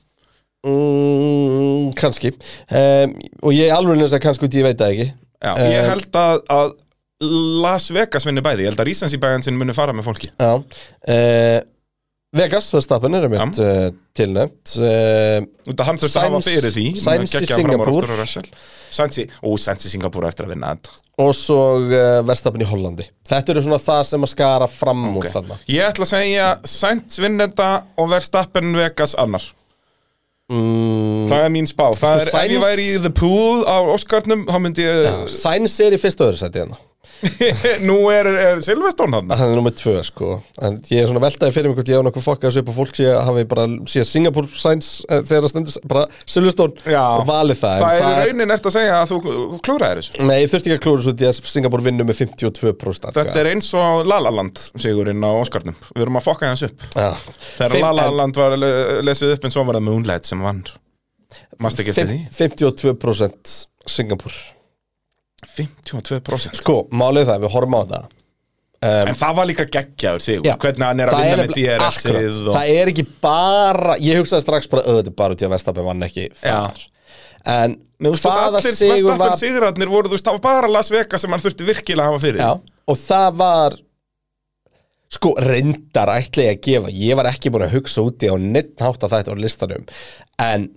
mm, Kanski um, Og ég alveg nefnst að kannski út, í ég veit það ekki Já, Eh, ég held að, að Las Vegas vinni bæði, ég held að Rísens í bæjansinn muni fara með fólki Já uh, Vegas, Verstappen er mitt uh, tilnefnt uh, Út að hann þurfti að hafa Sainz- fyrir því Sainz í Geggjaðan framar Singapúr. aftur á Russell. Sainz í- Ó, Sainz í Singapúr á eftir að vinna þetta Og svo uh, Verstappen í Hollandi Þetta eru svona það sem að skara fram úr Ok. þarna Ég ætla að segja Sainz vinn þetta og Verstappen Vegas annar mm, Það er mín spá Það er, ef Sainz- ég væri í The Pool á Óskarnum þá myndi ég Sainz er í fyrsta öðru sæti hérna <laughs> Nú er, er Silveston hann Hann er nummið tvö sko En ég er svona veltaði fyrir mig hvort ég á nokkuð fokka þessu upp og fólk sé að hafi bara sé Singapore Sainz eh, þegar það stendur bara Silveston Já. og valið það en Það er í raunin eftir að segja að þú klúraðir þessu Nei, ég þurfti ekki að klúra svo því að Singapur vinnur með 52% Þetta er eins og Lalaland sigurinn á Óskarnum Við erum að fokka hans upp er Þegar Lalaland var le- lesið upp en svo var það Moonlight sem vann Mast ekki eftir því 52% Singapur 52% Sko, málið er það, við horfum á það En það var líka geggjaður sigur Um, Já. Hvernig hann er að vinna með nefnilega- DRS-ið akkurat. Það er ekki bara Ég hugsaði strax bara, auðvitað bara út í að Vestapen vann ekki þar En Nei, þú veist að hvaða allir sigur Verstappen var sigurarnir voru, þú veist, það var bara Las Vegas sem hann þurfti virkilega að hafa fyrir Já, og það var sko reyndar ætla ég að gefa ég var ekki búin að hugsa úti á neitt hátt að þetta á listanum en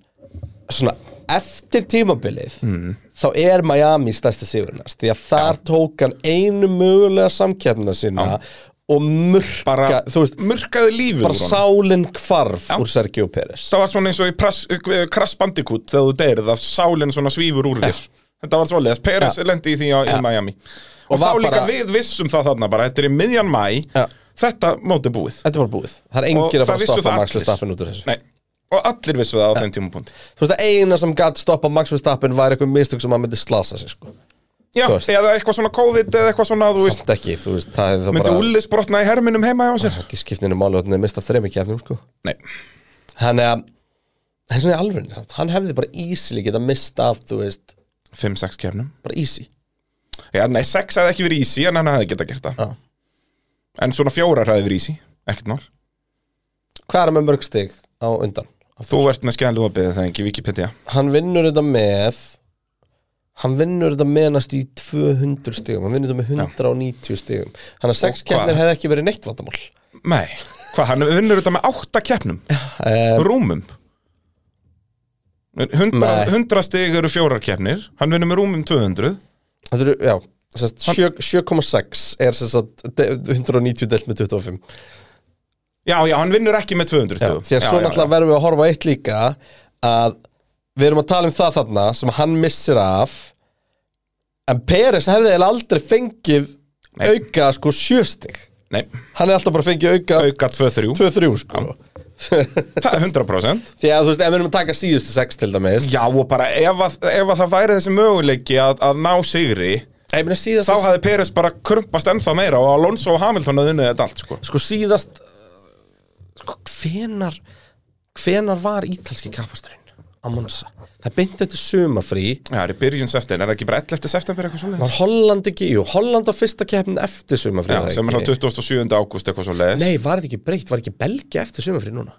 svona eftir tímabilið Mm. þá er Miami stærsti sigurinnast því að þar tók hann einu mögulega samkjæmna sína og murka, bara, þú veist murkaði lífið úr bara honum sálinn hvarf úr Sergio Pérez Það var svona eins og í press, eh, Crash Bandicoot þegar þú deyrið að sálinn svona svífur úr þér Þetta var svoleiðis, Peres lendi í því á, í Miami Og, þá var líka bara- við vissum það þarna bara, þetta er í miðjan mæ Já. Þetta móti búið Þetta er bara búið, það er engin Og að fara það að vissu stoppa það Max allir. Verstappen út úr þessu Nei, og allir vissu það á þeim tímapunkti Þú veist að eina sem gætt stoppa Max Verstappen var eitthvað mistök sem hann myndi slasa sig sko. Já, Þú veist. eða eitthvað svona COVID eða eitthvað svona, þú veist Samt ekki, þú veist, það er það Myndi bara Ullis brotna í herminum heima hjá <laughs> sér? ekki skiptinu máli og þannig mista þremi kefnum sko Nei, þannig að það er svona í alveg hann hefði bara easily geta mista af þú veist 5-6 kefnum bara easy Já, nei, sex hefði ekki verið easy en hann hefði geta gert það Já. En svona fjórar hefði verið easy, ekkert mál hvað er hann með mörg stig á undan Þú ert með skæðan lopið það ekki Wikipedia hann vinnur þetta með hann vinnur þetta með næstu í 200 stigum hann vinnur þetta með 190 stigum þannig að sex Og hvað? kefnir hefði ekki verið neitt vandamál Nei, hvað, hann vinnur þetta með átta <laughs> keppnum um, Rúmum Hundra, Nei. hundra stig eru fjórar keppnir Hann vinnur með rúmum 200 þetta eru, já sest, 7,6 er sem sagt, de- 190 delt með 25 Já, já, hann vinnur ekki með 200 Já, stigum. því að Já, svo já, náttúrulega verðum við að horfa á eitt líka að við erum að tala um það þarna sem hann missir af en Peres hefði eiginlega aldrei fengið Nei. auka sko sjöstig já. Nei, hann hefði alltaf bara fengið auka auka 2-3 2-3 sko Það er 100% því að þú veist, ef við erum að taka síðustu 6 til dæmis Já, og bara ef að, ef að það væri þessi möguleiki að, að ná sigri ég meina Þá síðast hefði Peres bara krumpast ennþá meira og Alonso og Hamilton hafði unnið þetta allt sko. sko síðast sko hvenar hvenar var ítalski kapasturinn á Monsa það beinti þetta sumafrí Já, það er í byrjun september, er það ekki bara 11. september eitthvað svolítið? var Holland ekki, jú, Holland á fyrsta keppnin eftir sumafrí Já, sem er þá 27. ágúst eitthvað svolítið Nei, var þetta ekki breytt, var ekki Belgia eftir sumafrið núna?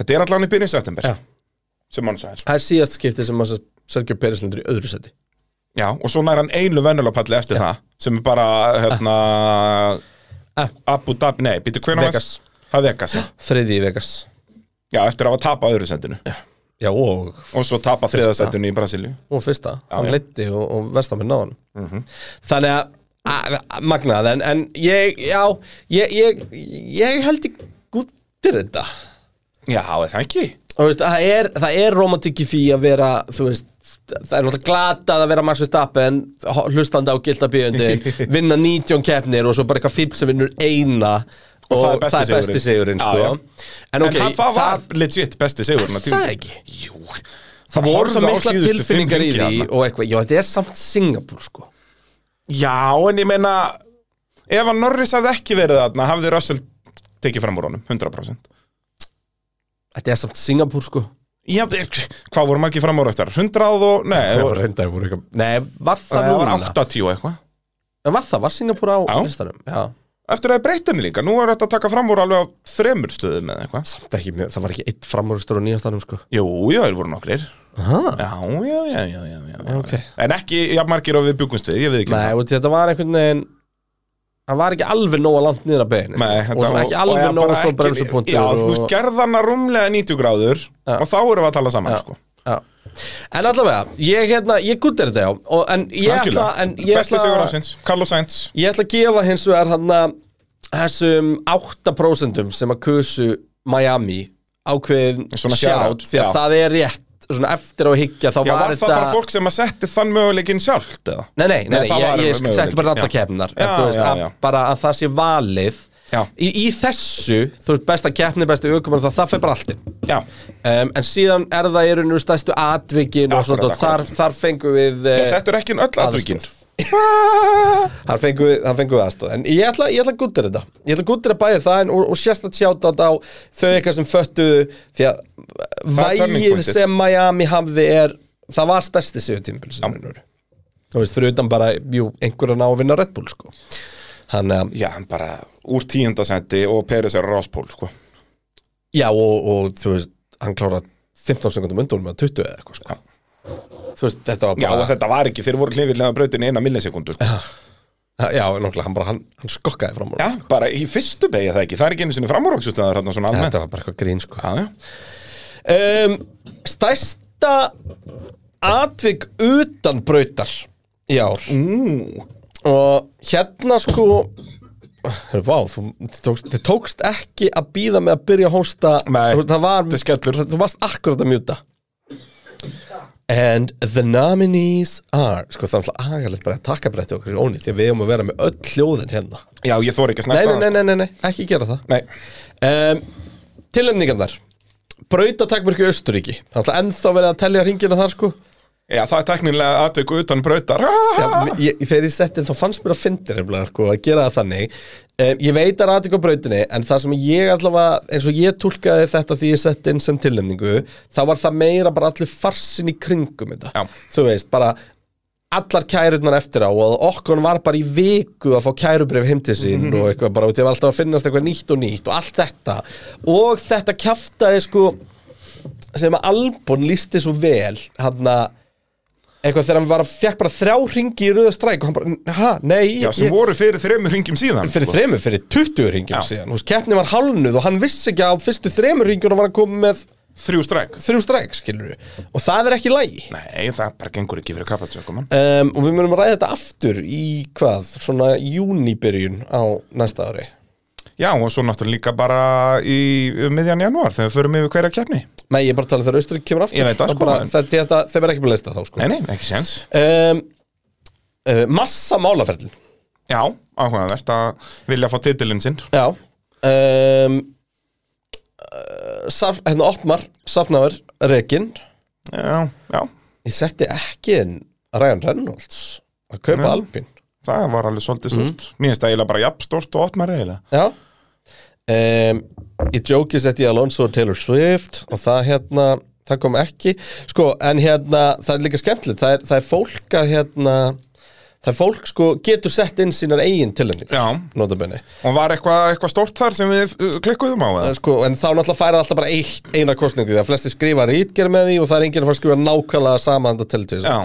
Þetta er allan í byrjun september Já. sem hann sagði Það er síðast skipti sem að Sergio Pérez lindur í öðru seti Já, og svo nær hann einu venjulapalli eftir það sem er bara, hérna Ah. Abu Dhabi, nei, býttu hvernig Vegas. Það er Vegas, já Þriði í Vegas Já, eftir að hafa tapað öðru sendinu Já, og, Og svo tapað þriðasendinu í Brasilíu og fyrsta, hann já. leiddi og, og vestaminn náðan mm Þannig að, að, að magnað, en, en ég, já, ég, ég, ég held ég gúttir þetta Já, er það ekki? Og veist, það er, það er romantik í því að vera, þú veist, það er náttúrulega glatað að vera Max Verstappen, ho- hlustandi á gilda bíundin, <laughs> vinna 19 keppnir og svo bara eitthvað fíbl sem vinnur eina og, það er besti það er besti sigurinn, sigurinn. Já, sko. já. En ok, en hann, það var legit besti sigur er það ekki? Jú Það voru horfðu svo á mikla síðustu tilfinningar í fimm því hringi og eitthvað, já þetta er samt Singapur sko Já, en ég meina Ef að Norris hafði ekki verið þarna Hafði Russell tekið fram úr honum, 100% Þetta er samt Singapur sko Já, er- hvað voru margir fram úr eftir? 100 og, nei, það var, reyndar voru eitthvað Nei, var það það var núna? 80 og eitthvað Var, var það, var Singapur á Já. listanum? Já Eftir að breyta henni líka, nú er þetta að taka fram úr alveg á þremur stöðum eða eitthvað Samt ekki, mér- það var ekki eitt framúrstur á nýjastanum sko Jú, já, þeir voru nokkrir Aha. Já, já, já, já, já, já, já. Ok. En ekki, já, margir og við byggumst við, ég við ekki Nei, og þetta var einhvern veginn Það var ekki alveg nóga langt niður að beginni Nei, Og svo ekki alveg nóga stór bremsupunktur Já, þú og- veist, gerðana rúmlega 90 gráður og þá erum við að tala saman, Já. sko Já. En allavega, ég, hérna, ég guttir þetta já og, En ég ætla, Algjörlega. en ég Besti ætla sigur ásins, Carlos Sainz Ég ætla að gefa hins vegar hann að þessum 8% sem að kusu Miami ákveðin Svona sjátt shout, því að já. það er rétt svona eftir á að higgja þá Já, var var það bara þetta fólk sem að setti þann möguleikin sjálft, eða? Nei, nei, nei, Nei, það var ég, ég möguleiki, setti bara allar já. keppnar Já, já, já. bara að það sé valið Já. í, í þessu, þú veist, besta keppni, besta aukumann það, það fer bara allt um, Já, en síðan er það í rauninu stæstu atvikin og Akkurat, svona, og þar, þar fengum við eh, það settur ekki inn öll atvikin aðstoð. Þar fengum við, þar fengum við aðstoð En ég ætla, ég ætla að gúttir þetta Ég ætla að gúttir að bæði það en, og, og sérstætt sjátt á þau eitthvað sem föttuðu Því að er turning vægið pointið. sem Miami hafði er Það var stærsti sigur tímpil sem hann eru Þú veist, fyrir utan bara, jú, einhverja ná að vinna Red Bull, sko Hann, um, Já, hann bara úr tíundasendi og Peres er ráspól, sko já, og, og þú veist, hann klára 15 sekundum undur með 20 eða eitthvað, sko Þú veist, þetta var Já, og bara þetta var ekki, þeir voru hlifilega brautin í eina millisekundur Já, Já, nokkla, hann bara, hann, hann skokkaði fram úr bara í fyrstu beigja það ekki, það er ekki einu sinni framúrvaksutnaðar þarna svona almennt Þetta var bara eitthvað grín, sko Já, já, um, Stærsta atvik utan brautar í ár mm. og hérna sko Hörru, Vá, þú tókst, þið tókst ekki að býða með að byrja að hósta Nei, Þú veist, það var, þetta er skellur. Þú varst akkurat að mjúta And the nominees are Sko það er alltaf agalegt bara að taka breytti okkur sér ónýtt Því að við erum að vera með öll hljóðin hérna já ég þor ekki að nei nei, snakka nei, nei, nei, nei, ekki gera það nei. um, Tilnefningarnar Brautatakmörki Östuríki Þannig að ennþá verið að telja ringina þar sko Já, það er teknilega atveiku utan brautar Já, m- ég, Þegar ég setti þá fannst mér að fyndir sko, að gera það þannig um, Ég veit að rati á brautinni En það sem ég allavega, eins og ég tólkaði þetta því ég setti inn sem tilnefningu Þá var það meira bara allir farsin í kringum þetta Já. Þú veist, bara allar kærurnar eftir á og okkur var bara í viku að fá kærubrif heim til sín og eitthvað bara og því að alltaf að finnast eitthvað nýtt og nýtt og allt þetta og þetta kjaftaði sko sem að Albon lísti svo vel hann að eitthvað þegar hann var að fekk bara þrjá ringi í röða stræk og hann bara, ha, nei Já, sem ég, voru fyrir þremur ringjum síðan fyrir sko. þremur, fyrir 20 ringjum Já. síðan, hús, keppni var hálnuð og hann vissi ekki að á fyrstu þremur ringjum var að koma með Þrjú stræk þrjú stræk, skilur og það er ekki lægi Nei, það bara gengur ekki fyrir kappatsökum um, og við munum að ræða þetta aftur í hvað, svona júnibyrjun á næsta ári Já, og svo náttúrulega líka bara í um miðjan janúar þegar við förum yfir hverja keppni Nei, ég er bara að tala um þegar Austurík kemur aftur Ég veit það, það sko, bara, en- það, þetta, Þeir verða ekki búin að leista þá sko. Nei, nei, ekki séns um, uh, Massa málaferlin Já, áhugavert að vilja fá titilinn sinn Já um, uh, saf, Hérna Ottmar, Safnaver, Rekin Já, já, Ég setti ekki inn Ryan Reynolds að kaupa Nei. Alpín það var alveg svolítið stort Mm. Mér finnst það eiginlega bara jafn stort og ottmar eiginlega Já um, Í jóki setti ég Alonso og Taylor Swift og það hérna, það kom ekki sko, en hérna, það er líka skemmtilegt það er, það er fólk að hérna það er fólk sko, getur sett inn sínar eigin tilending, Já, notabenni og var eitthvað eitthva stort þar sem við uh, klikkuðum á eða? sko, en þá náttúrulega færið alltaf bara eitt, eina kostningu því að flesti skrifa rítgerð með því og það er enginn að fara að skrifa nákvæmlega sama handa til til Já.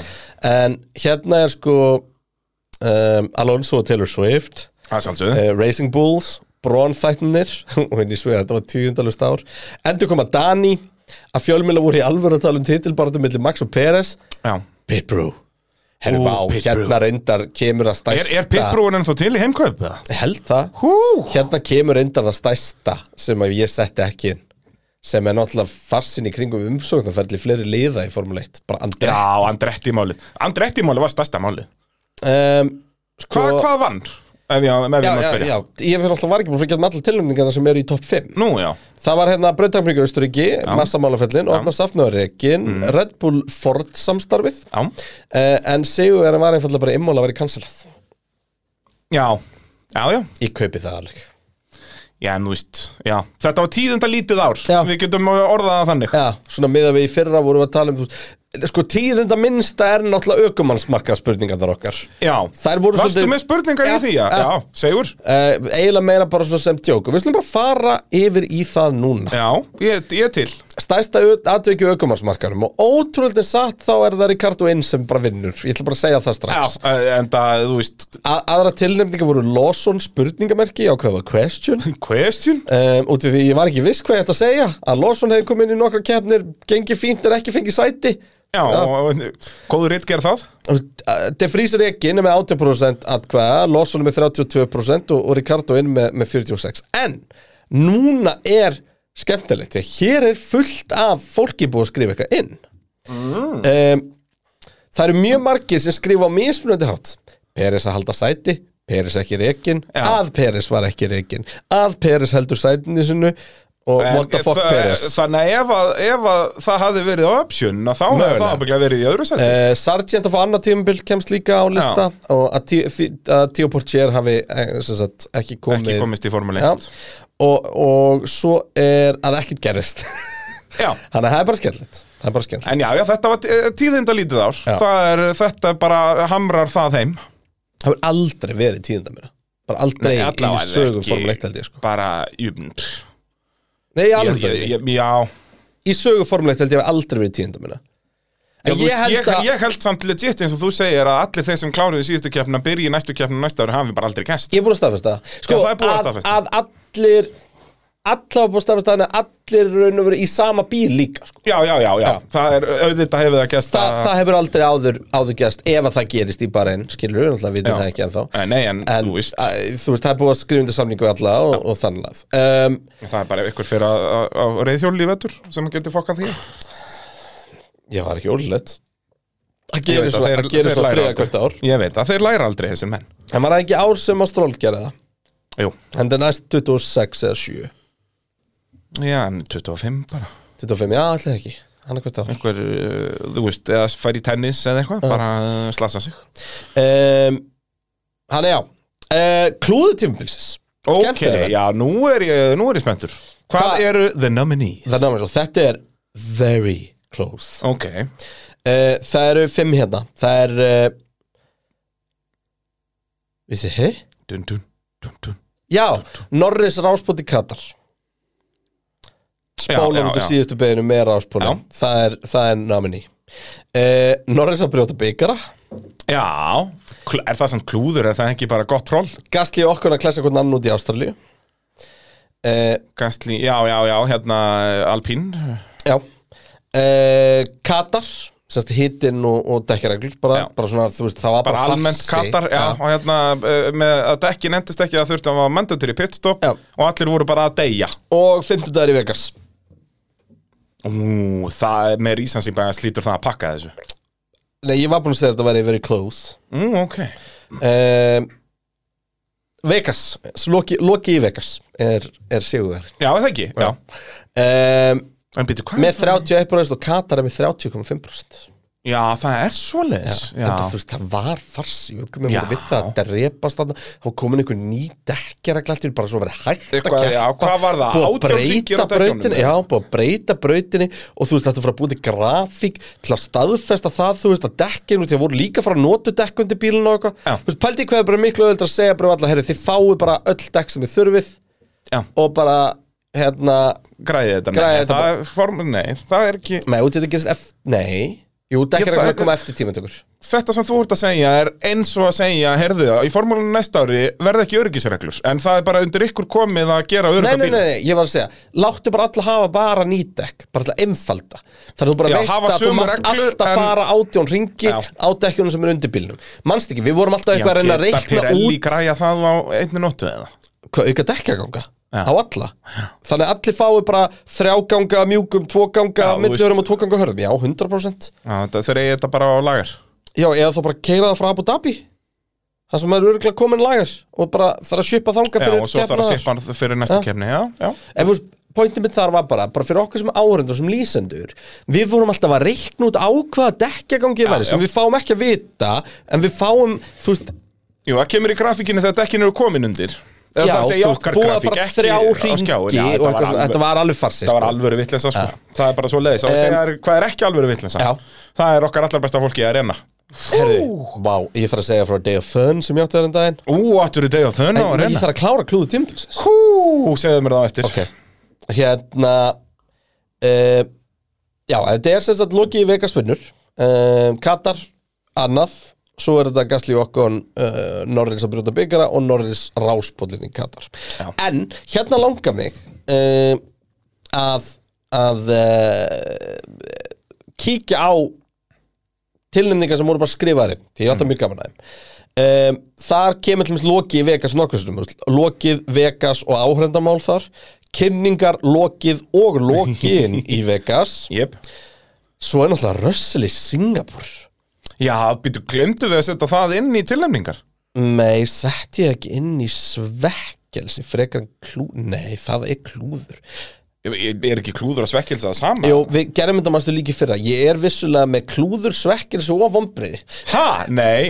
en hérna er sko um, Alonso og Taylor Swift Það sjálfsögðu uh, Racing Bulls brónþættinir <laughs> og henni svega þetta var tíðundalust ár endur koma Dani að fjölmjöla voru í alvöru að tala um titilbarðum millir Max og Peres Já. Pitbrú Herru, Ú, vá, Pit Brew. hérna reyndar kemur að stæsta Er, er pitbrúin ennþá til í heimkaup? eða? Ég held það Hú. Hérna kemur reyndar að stæsta sem að ég setti ekki inn sem er náttúrulega farsin í kringum umsóknarferðli fleiri liða í Formule 1 bara andra Já, Andretti málið Andretti málið var stærsta málið um, sko, Hva, Hvað vann? Ef ég, ef ég Já, má já, spyrja. já, ég fyrir alltaf var ekki búin að frekja um allar tilnæmningarna sem eru í topp 5 Nú, já Það var hérna Brautakmringu Östuríki, Massamálafellin, Opna Safnaðurreikin, Red Bull Ford samstarfið Já, uh, en Sigurverðin var einfallega bara immóla að vera cancelað já, já, já, Ég kaupi það alveg já, en þú veist já. Þetta var tíðenda lítið ár Já. Við getum orðað það þannig Já, svona miða við í fyrra vorum við að tala um þú, veist, Sko tíðenda minnsta er náttúrulega aukumannsmarkað spurningarnar okkar Já, Þær voru Varstu svolítið- með spurningar Já, í því, já, já. já, segur uh, Eiginlega meira bara svona sem tjók Við slum bara fara yfir í það núna Já, ég, ég er til Stærsta atveiki aukumannsmarkaðum og ótrúldin satt þá er það Ricardo inn sem bara vinnur Ég ætla bara að segja það Já, strax eh, en það, þú veist A aðra tilnefningar voru Lawson spurningamerki á hvað var question Question? um, út af því ég var ekki viss hvað ég ætti að segja að Lawson hefði komið inn í nokkra keppnir gengið fínt en ekki fengið sæti Já, Já. og góður ritt gerð það Þú veist, uh, De Vries er ekki inn með 80% atkvæða, Lawson er með 32% og, og Ricardo inn með, með 46 en núna er skemmtilegt, því að hér er fullt af fólki búið að skrifa eitthvað inn Mm. um, Það eru mjög margir sem skrifa á mismunandi hátt Peres að halda sæti Peres ekki reikin, Já. að Peres var ekki reikin að Peres heldur sætinu sinu og En what the fuck þa- Peres Þannig að ef, að ef að það hafði verið option að þá hefði Mögulega. það ábygglega verið í öðru seti Uh, Sargent of Anna tímabil kemst líka á lista og að Ti- Fi- að Tio Portier hafi eh, sem sagt, ekki komið, Ekki komist í formule Já. 1 og, og svo er að ekkert gerist Já. <laughs> þannig að það er bara skemmtilegt það er bara skemmtilegt En já, já, þetta var tíðinda lítið ár Já. það er, Þetta bara hamrar það heim það hefur aldrei verið tíðinda mér bara aldrei Nei, í allavega sögum ekki. Formule 1 held ég sko Bara, jöfn Nei, í Ég- alveg ég- ég- Já, í sögum Formule 1 held ég hef aldrei verið tíðinda mér Já, en þú ég veist, ég, held að ég held samt legit eins og þú segir að allir þeir sem kláruðu síðustu keppnina byrji í næstu keppnina næsta ári hafi bara aldrei kæst Ég er búin að staðfesta það. sko, Já, það er búin að staðfesta. að, að allir allar búin að staðfesta þannig að allir raun og verið í sama bíl líka sko. Já, já, já, já, það er auðvitað hefur það kæst Þa, það hefur aldrei áður, áður gerst ef að það gerist í bara einn, skilur við, náttúrulega við Já. það ekki ennþá Nei, nei, en, en þú veist, að, þú veist, það er búið að skrifa undir samningu alla og, og þannig að um, það er bara ykkur fyrir að, að, að reyðhjóli í vetur sem getur fokkað því ég var ekki ólulegt að Ég gera veit að svo, þeir- að gera þeir svo læra þriða aldrei. hvert ár Ég veit að þeir læra aldrei þessir menn en var það ekki ár sem að stról gera það Jú, en það er næst 26 eða 7 já, en 25 bara 25, já, allir ekki, hann er hvert ár Einhver, uh, þú veist, eða fær í tennis eða eitthvað, bara uh, slasa sig um, hann er já uh, klúðu tímabilsis Ok, Skemmtilega. já, nú er ég, nú er ég spenntur Hvað Hva- eru the nominees? Það er námið svo, þetta er very close Ok, Eh, Það eru fimm hérna Það er uh, Vissi, hei? dun dun, dun dun Já, Norris ráspóti Katar Já, já, Spólan út úr já. síðustu beðinu með ráspólan það er, það er namini uh, Norris að brjóta byggara Já, kl- er það samt klúður, er það ekki bara gott troll? Gastli okkur að klessa hvern annan út í Ástralíu uh, Gastli, já, já, já, hérna eh, Alpín Já uh, Katar Sérst hittinn og, og dekkareglur bara, Já. bara svona, þú veist, það var Bara bara, almennt farsi. Katar, já, og hérna eh, með að dekkin endist ekki að þurfti að maður mandatur í pitstop Já. og allir voru bara að deyja Og fimmtudagur í Vegas Ú, það er með rísans í bæða slítur það að pakka þessu Nei, ég var búin að segja að þetta væri very close Ú, ok um, Vegas Loki, Loki í Vegas er, er sigurverð Já, er það ekki, já, um, En býtu, hvað er Með það? 31% og Katar er með 30,5% Já, það er svoleiðis Já, Enda, þú veist, það var farsi við komum Já. við það að drepast þarna þá var komin einhver ný dekkjaraglæntir bara svo að vera hægt að Eitthvað, já, hvað var það? búið að 18 hringir á breyta dekkunum, brautinni já, eða? búið að breyta brautinni og þú veist, þetta fyrir að búið til grafík til að staðfesta það, þú veist, að dekkinu því að voru líka frá notu dekkundi bílun og Já. eitthvað þú veist, pældi í hvað er bara miklu öðvöld að segja bara allar, herri, þið fáið bara öll dekk sem þið þurfið Já. og bara, hérna græði þetta, Græðið nei, þetta það, er form, nei, það er ekki nei, út í þetta gerist F, nei Jú, dekkar það- að koma eftir tímatökur þetta sem þú ert að segja er eins og að segja, herðu það, í formúlunum næsta ári verða ekki öryggisreglur, en það er bara undir ykkur komið að gera Nei, örygga nei, bíl. nei, nei, ég var að segja Láttu bara alla hafa bara nýdekk Bara til að einfalda Þannig að þú bara Já, veist hafa að þú sömu mátt reglur, alltaf en- fara átjón ringi Já. Á dekkjunum sem eru undir bílnum Manst ekki, við vorum alltaf Já, eitthvað að reyna að geta reikna Pirelli út græja það á einni nóttu eða? Hvað auka dekkjaganga Já. Á alla Þannig að allir fái bara þrjáganga mjúkum Tvóganga, Já, þú milljörum veist. og tvóganga hörðum Já, 100% Já, þetta- þeir eigi þetta bara á lagar. Já, eða þá bara keira það frá Abu Dhabi Það sem maður er örgulega komin lagar Og bara þarf að sjöpa þanga Já, fyrir og svo keppna þarf að þar. sippa hann fyrir næstu Já. kefni, já, já. En þú veist, pointið mitt þar var bara, bara fyrir okkur sem áhörendur, sem lýsendur Við vorum alltaf að reikna út á hvaða dekkjagangið væri sem já. við fáum ekki að vita En við fáum, þú veist, Jú, það kemur í grafíkinni þegar dekkin eru komin undir. Eða já, það þú segja veist, okkar búið að grafík, fara ekki þrjá á hringi skjáin. Já, og eitthvað svona, alveg- Þetta var alveg farsi Það var alvöru vitleysa sko. Það er bara svo leiðis og segja þér hvað er ekki alvöru vitleysa Já. Það er okkar allar besta fólki að reyna Herðu, vá, ég þarf að segja frá Day of Fun sem ég átti þennan daginn Ú, áttur í deg og þun á að En ég reyna þarf að klára klúðu tímpilsins Hú, segðu mér það á eftir Ok, hérna uh, Já, þetta er sem sagt lokið í Vegas vinnur uh, Katar, annað Svo er þetta Gasly Okkon uh, Norris að brjóta byggara og Norris ráspóllin í Katar Já. En hérna langar mig uh, að að uh, kíkja á tilnefningar sem voru bara skrifaðir inn, því ég er alltaf mjög gaman að þeim um, þar kemur til dæmis lokið Vegas nokkurstum, lokið Vegas og áhrendamál þar kynningar, lokið og lokiðin <laughs> í Vegas Jep svo er náttúrulega Russell í Singapur Já, býtu, glemdu við að setja það inn í tilnefningar nei, sett ég ekki inn í svekkelsi frekar en klú, nei, það er klúður Ég ég er ekki klúður að svekkelsa það sama Jú, við gerum þetta mannstu líki fyrra ég er vissulega með klúður, svekkelsi og vombriði Ha, nei,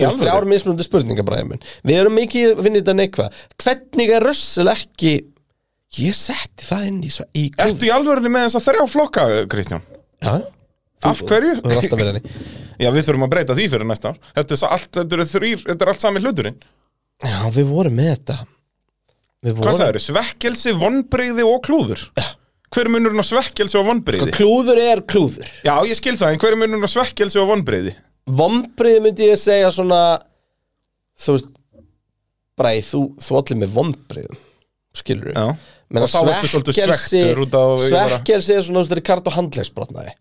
Þetta eru alvöru. þrjár mismunandi spurningar bræði minn Við erum mikið að vinna þetta neikvað Hvernig er Russell ekki Ég setti það inn í, svo, í Ertu í alvörunni með þess að þrjá flokka, Kristján? ja? Af hverju? Þú er alltaf verið henni Já, við þurfum að breyta því fyrir næsta ár Þetta er, sa- allt, þetta er, þrýr, þetta er allt sami hluturinn Já, við vorum með þetta Við Hvað vorum það eru? Svekkelsi, vonbreyði og klúður? Hver er munurinn á svekkelsi og vonbreyði? Klúður er klúður Já, ég skil það, en hver er munurinn á svekkelsi og vonbreyði? Vombrið myndi ég segja svona Þú veist Bræði, þú, þú allir með vombriðum Skilur við Já Menna, Og þá ertu svolítið svekktur út á- Svekkelsi er svona, þú veist, Ricardo handlegsbrotnaði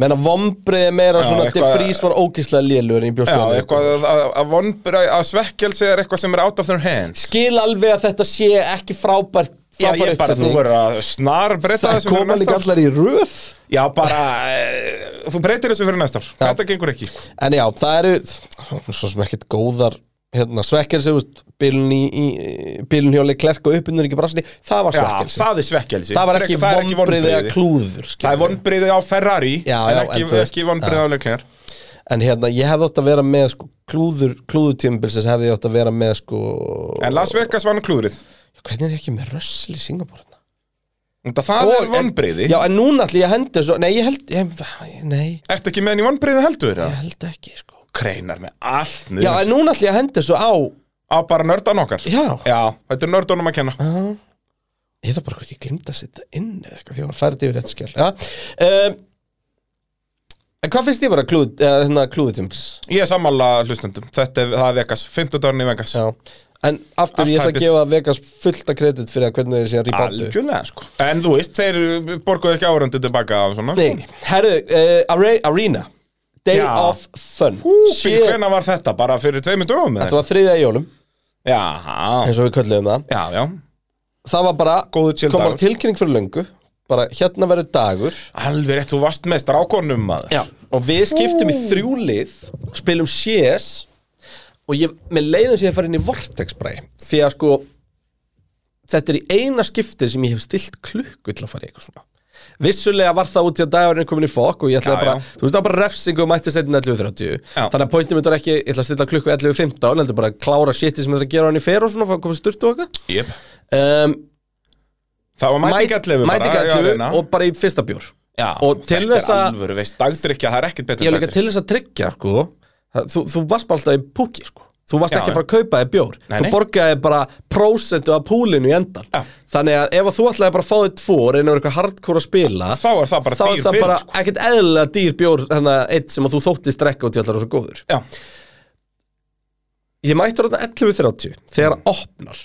Menna, vombrið er meira Já, svona eitthvað- eitthvað... Defrís var ógislega lélur í Já, bjóstöðum eitthvað að, að, að, vonbreið, að svekkelsi er eitthvað sem er out of their hands Skil alveg að þetta sé ekki frábært Já, frábær ég bara, þú uppsetning. verður að snar breyta Það þessu fyrir koma næsta líka ár allar í röð Já, bara, eh, þú breytir þessu fyrir næsta ár Þetta gengur ekki En já, það eru Svo sem ekkert góðar hérna, Svekkelsi, þú veist, bílun í, í Bílun hjóli klerk og uppinnur ekki brasni Það var Já, svekkelsi það er svekkelsi Það var ekki Frekar- það er vombrið eða vonbrigði. klúður skilur Það er við. vonbreyði á Ferrari Já, En já, ekki, en þú veist- ekki vonbreyði á leiklingar En hérna, ég hefði átt að vera með sko, klúður, klúðutímabilsins hefði ég átt að vera með sko En Las Vegas var nú klúðrið Hvernig er ég ekki með rössl í Singapur hérna? Þetta það er Og- en- vonbreyði Já, en núna ætli ég að hendi þessu Nei, ég held, ég, nei, Ertu ekki með henni vonbreyði heldur það? ég held ekki sko Kreinar með allt niður Já, en núna ætli ég að hendi þessu á Á bara nördan okkar Já, Já, þetta er nördunum að kenna ég það bara hvort ég glimta að setja inn eða eitthvað því ég var að færa þetta yfir þetta skjál Já um, En hvað finnst þið vera klúð, eða, hérna, klúðutímabils? Ég er sammála hlustendum Þetta er, það er Vegas, 15 dagurinn í Vegas Já En aftur, Allt ég ætla að hæpið. gefa Vegas fullta kredit fyrir að hvernig þessi að rýbáttu Algjörlega sko En þú veist, þeir borguðu ekki árandi tilbaka af svona Nei, herru, uh, are, Arena Day Já. of Fun Húpi, Sér- hvena var þetta? Bara fyrir tveimur dögum Þetta eða? var þriðja í jólum, Já, eins og við kölluðum það já, já Það var bara, Góður chill kom bara dagur. tilkynning fyrir löngu Bara, hérna verður dagur Alveg rétt, þú varst með strákonum maður Já Og við skiptum í þrjú lið Spilum CS Og ég, með leiðum sér að fara inn í Vortex bræði Því að sko Þetta er í eina skiptið sem ég hef stilt klukku til að fara í eitthvað svona Vissulega var það út í að dagurinn komin í fokk og ég ætlaði Já, bara, já. þú veist það var bara refsingu og mætti setjum 11.30 Já. Þannig að pointum þetta er ekki, ég ætla að stilla klukku 11.15 heldur bara að klára shitið sem þetta er að gera hann í fer og svona og komið sturt og eitthvað yep. um, Ehm, Það var mæti gætlefu mæti gætlefu og bara í fyrsta bjór já, og til þess Þetta að- er alvöru, veist, dagdrykja, það er ekkert betur ég er líka til þess að tryggja sko, það- þú, þú varst bara alltaf í púki sko. Þú varst Já, ekki að já. fara að kaupa þér bjór Nei, Þú nei. borgaði bara prósentu af púlinu í endan Já. Þannig að ef að þú ætlaði bara að fá þér tvo og reyna að vera eitthvað hardcore að spila Þá er það bara þá dýr er það bjór, bara sko. ekkert eðlilega dýr bjór þannig að eitt sem að þú þóttist drekka og tjallar og svo góður Já, Ég mætti ráðan 11.30 þegar mm. opnar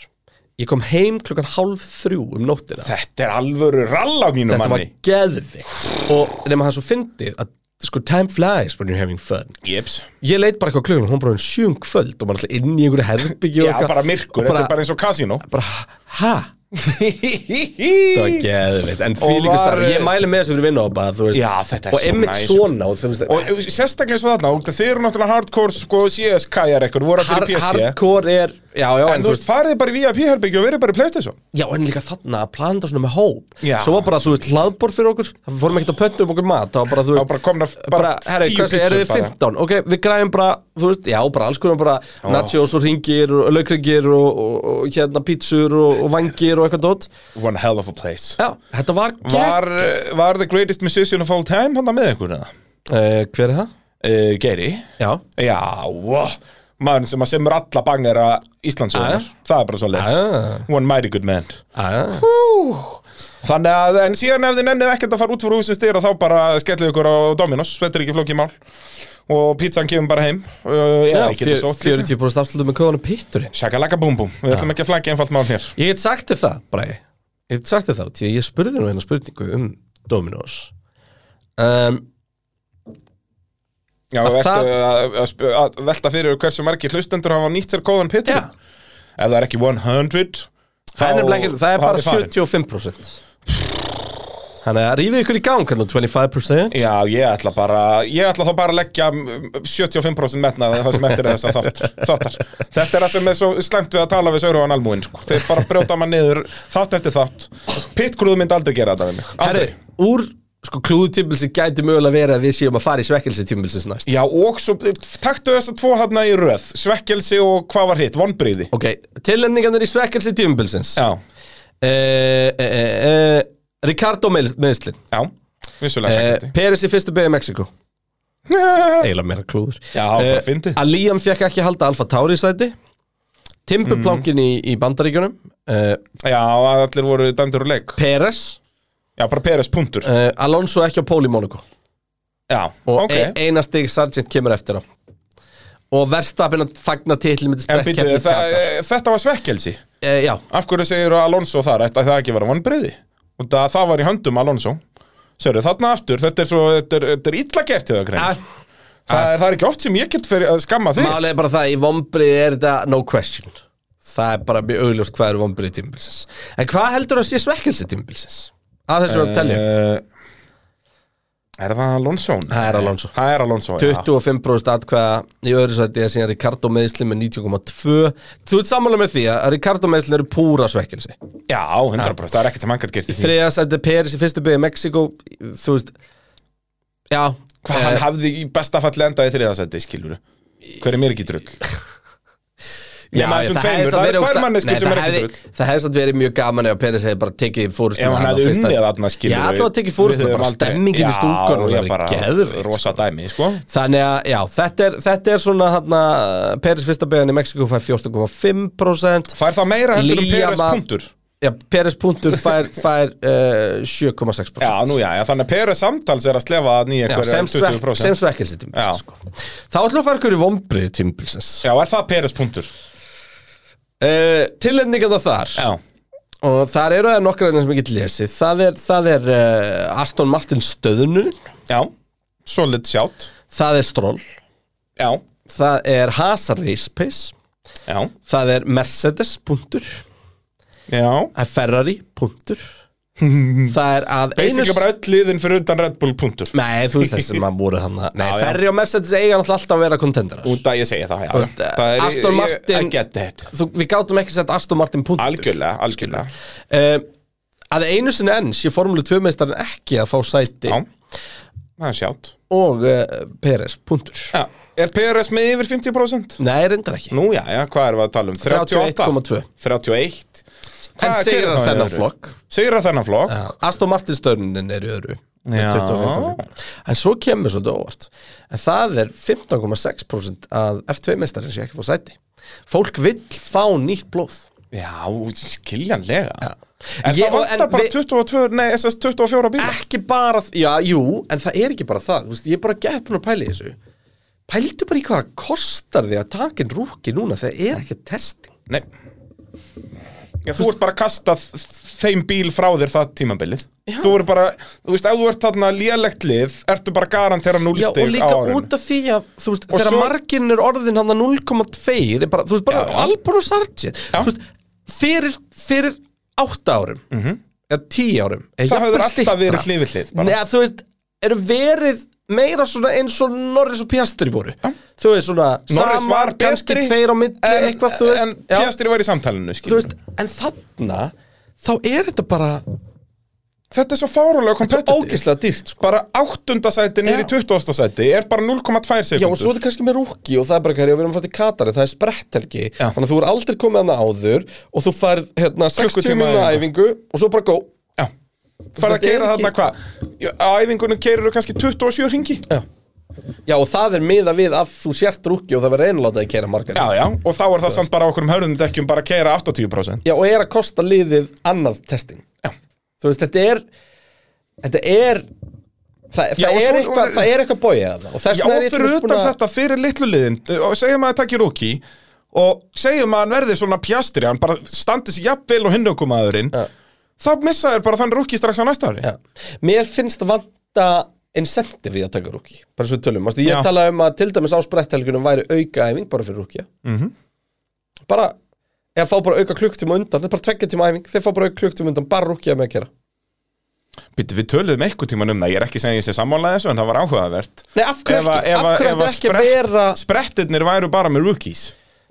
Ég kom heim klukkan hálf þrjú um nóttina þetta er alvöru rall á mínu Þetta var manni geðvikt Og nema það er svo fyndið að sko time flies when you're having fun Jeps Ég leit bara eitthvað klukkan og hún bara sjön kvöld og maður alltaf inn í einhverju herbyggju og Já, eitthvað. bara myrkur, Og þetta er bara eins og <laughs> kasínó bara, ha? Þetta <laughs> var geðveikt, en Og fílíku var- starf Ég mæli með þessu fyrir vinnahópa, þú veist Já, þetta er Og svo einmitt næs, sko. svona, og þú veist Og sérstaklega eins og þarna, og þeir eru náttúrulega hardcore sko, CS-kæjar ekkur, voru har, allir í PC Hardcore er, já, já, En þú veist, farið bara í VIP-herbyggju og verið bara í Playstation Já, en líka þarna að plana þetta svona með hóp Já. Svo var bara, þú veist, hlaðbor fyrir okkur Það fórum ekkert að pöntu um okkur mat Það var bara, þú Þá veist bara komnar bara, herri, tíu hversu, eru pizzur þið bara. 15? Ok, við græðum bara, þú veist, já, bara alls konar bara nachos og ringir og laukringir og, og, og hérna pítsur og, og vangir og eitthvað dót One hell of a place Já, þetta var gegn Var, eh, var the greatest musician of all time hann með einhverjum það? uh, Hver er það? Uh, Geiri Já, Já, wow. maður sem að semur alla bangera Íslandsöðunar Það er bara svo Ah. One mighty good man aðja Þannig að, en síðan ef þið nennið ekkert að fara út fyrir húsins dyr þá bara skellið ykkur á Dominos Þetta er ekki flókið mál Og pizzan kemur bara heim uh, Já, Já, ég geti svo 40% afslutu með kóðanum pitturinn Shakalaka búm búm, við ætlum ekki að flagga einfalt mál hér Ég get sagt þér það, Bræði Ég get sagt þér það, því að ég spurði nú hérna spurningu um Dominos um, Já, Að ertu það- að, að, sp- að velta fyrir hversu margir hlustendur hafa nýtt sér kóðan Já, Peter Ef það er ekki 100 það er nefnilega ekki, það er þá bara farin. 75% Þannig að rífið ykkur í gang hérna 25% Já, ég ætla bara, ég ætla þá bara að leggja mm, 75% metnaði það sem eftir er þess <laughs> að þátt, þáttar. Þetta er það sem er svo slæmt við að tala við Sauron Almúin, sko. Þeir bara brjóta mann niður þátt eftir þátt. Pittgrúð myndi aldrei gera þetta við mig. Herri, Aldrei. úr sko klúðutímbilsi gæti mögulega verið að við séum að fara í svekkelsi tímbilsins næst Já, og svo, taktu þess að tvo hafna í röð, svekkelsi og hvað var hitt, vonbríði. Ok, tilendingarnir í svekkelsi tímbilsins Já, Eh, eh, eh, eh, Ricardo meðslin já, vissulega eh, svekkjandi. Peris í fyrstu beigði Mexiko <laughs> eiginlega meira klúður Já, bara Eh, fyndið. að Liam fekk ekki að halda Alfa Tauri í sæti Timbuplánkin í, í bandaríkjunum uh, Já, allir voru dæmdur úr leik. Peres Já, bara Peres punktur. uh, Alonso ekki á pól í Monaco Já, og e- ok. okay. eina stig Sargent kemur eftir á og Verstappen að fagna titli með En býtu, það- uh, þetta var svekkelsi. Eh, já, Af hverju segir Alonso þar ætti það ekki að vera vonbreiði? Og það, það var í höndum Alonso Sérðu, þarna aftur, þetta er svo Þetta er, þetta er illa gert til það grein að, það, er- það er ekki oft sem ég get fyrir að skamma þig málið er bara það í vombrið er þetta no question það er bara mjög augljóst hvað eru vombrið tímbilsins en hvað heldur að sé svekkelsi tímbilsins að þessu var að telja uh, Er það Alonso? Það er Alonso. Það er Alonso, já 25% atkvæða í öðru sæti að síðan Ricardo meðsli með 90,2 Þú ert sammála með því að Ricardo meðsli eru púra svekkelsi Já, 100%, það er ekkert sem hann gætt gert í því Þriða sæti Peris í fyrstu byggði Mexiko Þú veist Já Eh, Hvað hann hafði í besta fall endað í þriðasætti, skilur Hver er mér ekki drull? Já, nema þessum það hefði tveimur, samt það eru verið tvær ógeðslega- manneskur Nei, sem það eru ekki hefði- Það hefði samt verið mjög gaman ef Peris hefði bara tekið fórust Ef hann hefði unnið þarna, skilur Já, alltaf tekið fórust bara stemmingin í stúkan og Já, það ég er bara, geðvikt rosa dæmi, sko Þannig að, já, þetta er, þetta er svona hérna, Peris fyrsta beigðan í Mexiko fær 14,5% Fær það meira heldur um Liam Peres að- punktur? Já, Peres punktur fær, fær uh, 7,6% Já, nú já, já, þannig að Peres samtals er að slefa að nýja Já, hverja sem, svek, 20%. sem svekkelsi Já. tímbilsins sko. Þá ætlum við að fara ykkur í vombrið tímbilsins Já, er það Peres punktur? uh, Tilendingarna þar Já. Og þar eru það nokkra þeirna sem ég get lesið Það er, það er uh, Aston Martin stöðunur Já, solid sjátt. Það er Stroll Já, Það er Haas Race Pace já, Það er Mercedes punktur já. Það er Ferrari <laughs> punktur Það er að Basically bara öll liðin fyrir utan Red Bull punktur. Nei, þú veist þessi maður voru <laughs> þannig Nei, Já, já. Ferrari og Mercedes eiga náttúrulega alltaf að vera kontendarar Út að ég segi það, já. Þú veist, eh, já. Það er- Aston ég- Martin- I get that. Þú, Við gátum ekki sett Aston Martin punktur Algjörlega, algjörlega. uh, að einu sinni enn sé Formule 2 meistarinn ekki að fá sæti Já, það er sjátt. og uh, Peres, punktur Já, er Peres með yfir 50%? Nei, reyndar ekki Nú já, já, hvað erum við að tala um? 38? 31,2. 31 En Hvað- hver er segir þá það í þennan öðru? flokk Sigra þennan flokk Já, Aston Martin störnin er í öru með Já. 25 leikmenn. En svo kemur svolítið óvart En það er 15,6% að F2-mestarinn sé ekki fór sæti Fólk vill fá nýtt blóð Já, skiljanlega En Ég- það og- vantar en bara við- 22, nei, SS 24 bíla Ekki bara, þ- já, jú, en það er ekki bara það Þú veist, Ég er bara geppin að pæla í þessu Pældu bara í hvað kostar því að taka inn rúki núna Þegar er ekki testing Nei Já, þú ert bara að kasta þ- þeim bíl frá þér það tímabilið Já. Þú eru bara, þú veist, ef þú ert þarna lélegt lið Ertu bara að garantera Já, og núlstig á líka árinu út af því að þú veist, Og þegar svo- margin er orðin hann að 0,2 er bara, þú veist, bara Já. Albon og Sargent Já. þú veist, fyrir, fyrir 8 árum eða 10 árum eða Mhm. Það jafnvel hefur alltaf styttra. verið hlið við hlið bara. Nei, þú veist, eru verið meira svona eins og Norris og Piastri voru þú veist, svona Norris saman, var kannski betri tveir á milli, En, eitthvað, þú veist en Já, Piastri var í samtalinu, þú skilur veist, en þarna þá er þetta bara Þetta er svo fárulega kompetitiv ógeðslega dýrt, sko Bara áttunda sæti niður í Já. 20. sæti Er bara 0,2 sekundur Já, og svo er þetta kannski með rúki og það er bara hverja, við erum að fara til Katari, það er spretthelgi Já. Þannig að þú er aldrei komið hana áður og þú færð hérna 60 Klukkutíma minna æfingu og svo bara gó Já Þetta Fara að er keira ekki- þarna hvað? Já, Á æfingunum keirir þú kannski 27 ringi Já. Já, og það er miða við að þú sért rúki og það verður einlátaði að keira margar Já, já, og þá er það samt bara okkur um hörðum dekkjum bara að keira 80% Já, og er að kosta liðið annað testing Já. Þú veist, þetta er Þetta er Það, Já, og það, er, svo- eitthvað, það er eitthvað bóið að það og þess Já, vegna og er ég til fyrir dæmis utan búin að- þetta, fyrir litlu liðin eh, og segjum að það takir rúki og segjum að hann verði svona pjastri hann bara standi sér jafnvel og hinnukumaðurinn Já. þá missa þér bara þann rúki strax á næsta ári Já. Mér finnst vanta incentive í að taka rúki bara svo við tölum, Vastu, ég Já. tala um að til dæmis á spretthelgunum væri aukaæfing bara fyrir rúkja Mhm. -hmm. bara eða fá bara auka klukktíma undan þetta er bara tveggja tíma æfing, þeir fá bara auka klukktíma undan bara rúkja með að gera Býttu, við töluðum eitthvað tíman um það, ég er ekki segið sér sammálaði þessu en það var áhugavert Nei, af hverju Ef að- ekki, ef af að- hverju ef ætti að ekki að sprett- vera Sprettirnir væru bara með rookies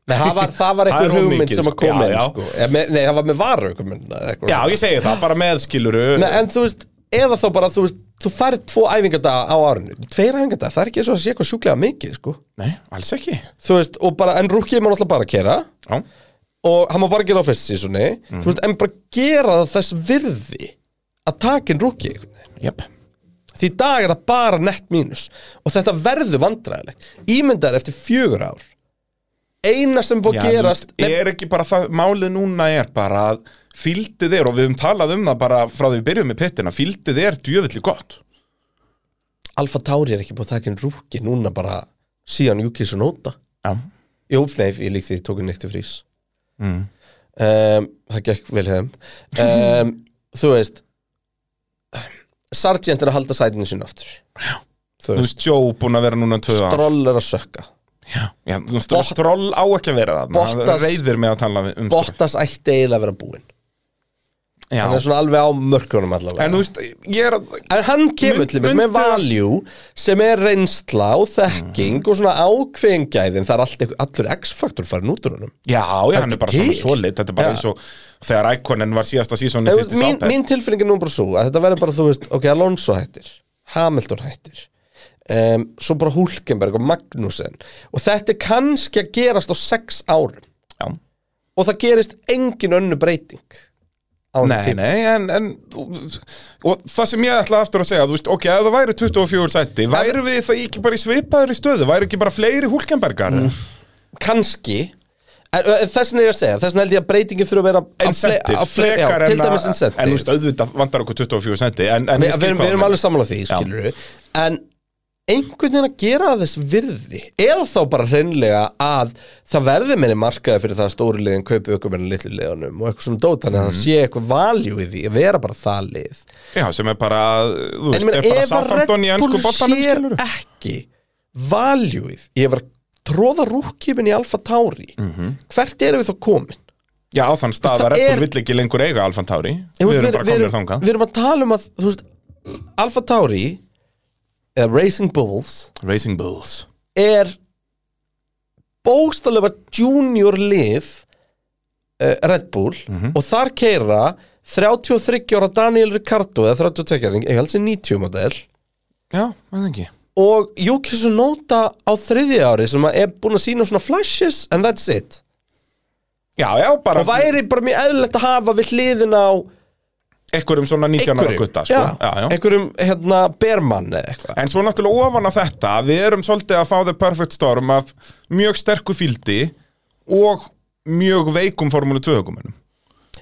Nei, það var, það var <laughs> Það er eitthvað of hugmynd mikið, sem að sko. koma Já, inn já. sko. Eða með- Nei, það var með varu eitthvað sko. Já, ég segi það, bara með skiluru Nei, en þú veist, eða þá bara þú veist, þú færð tvo æfingadaga á árinu tveir æfingadaga, það er ekki eins og að sé eitthvað sjúklega mikið sko. Nei, alls ekki þú veist, og bara, en rúkið maður alltaf bara að kera Já, og hann má bara gera á fyrst sísunni þú veist, en bara gera það þess virði að taka inn rúki jöp því í dag er það bara nett mínus og þetta verður vandræðilegt ímyndar eftir fjögur ár eina sem er búið Já, að þú gerast veist, er ekki bara það, málið núna er bara að fíldið er, og við höfum talað um það bara frá því við byrjum með pittina, fíldið er djöfulli gott Alfa Tauri er ekki búið að taka inn rúki núna bara síðan Júkis og Nóta Já, Jó, nei, ég lík því, ég tók inn eitt í frís Mm. um, Það gekk vel hefum um, <laughs> Þú veist Sargent er að halda sætinu sín aftur Já Þú Þú veist, veist, Joe búinn að vera núna tvö ár Stroll er að sökka Já, þú veist, Stroll á ekki að vera það Bottas- Reyðir mig að tala við- um Stroll Bottas ætti eiginlega að vera búinn Já. Hann er svona alveg á mörkunum allavega En þú veist, ég er að En hann kemur Mynd- til þess með myndi- valjú sem er reynsla og þekking Mm. og svona ákveðingæðin það er allt, einhver- allur X-faktor farin út úr honum Já, já, hann er bara svona til. svolit Þetta er bara Já. eins og þegar Iconin var síðasta sísónu Þú veist, síðasti mín, sápæð mín tilfinning er nú bara svo að þetta verður bara, þú veist, ok, Alonso hættir Hamilton hættir um, svo bara Hulkenberg og Magnussen og þetta er kannski að gerast á sex árum Já. og það gerist engin önnu breyting á þessum Nei, tíma. nei, en, en og það sem ég ætla aftur að segja, þú veist, ok, ef það væri 24 sæti, væri við það ekki bara í svipaður í stöðu, væri ekki bara fleiri húlkenbergar Mm. kannski en, en þessin er ég að segja, þessin held ég að breytingin þurfa að vera á fle- incentive, á fle- já, frekar til en dæmis að, en þú incentive veist, auðvitað vantar okkur 24 sæti, en, en Vi, ég skil við, erum, við hvað þú erum meinar. alveg sammála því, skilur við En einhvern veginn að gera þess virði Eða þá bara hreinlega að Það verði meiri markaði fyrir það að stóru liðin Kaupi aukum enn litlu liðanum Og eitthvað svona dót Þannig að Mhm. það sé eitthvað valjú í því Að vera bara það lið Já, sem er bara, þú En ég veist, meina, er ef að bara Red Southampton í ennsku Bull bóttanum, skilur sér ekki valjúið Ég var að tróða rúkkipin í Alfa Tauri Mhm. Hvert erum við þá komin? Já, á þann stað Það að Red er- Bull vill ekki lengur eiga Alfan Tauri Ég, Við veist, erum bara við, komin erum, þangað við erum að tala um að þú veist, Alfa Tauri Eða Racing Bulls Racing Bulls er bókstallega junior lið uh, Red Bull Mhm. og þar keira 33 ára Daniel Ricardo eða 32 ára, ég held sér 90 model Já, maður ekki og Yuki Tsunoda á þriðja ári sem að er búin að sína svona flashes and that's it já, já, bara og væri bara mjög eðlilegt að hafa við hliðin á einhverjum svona 19 ára einhverjum, gutta sko. já, einhverjum hérna, bermann eða eitthvað En svo náttúrulega ofan á þetta, við erum svolítið að fá The Perfect Storm af mjög sterku fíldi og mjög veikum formúlu 2 hugumunum.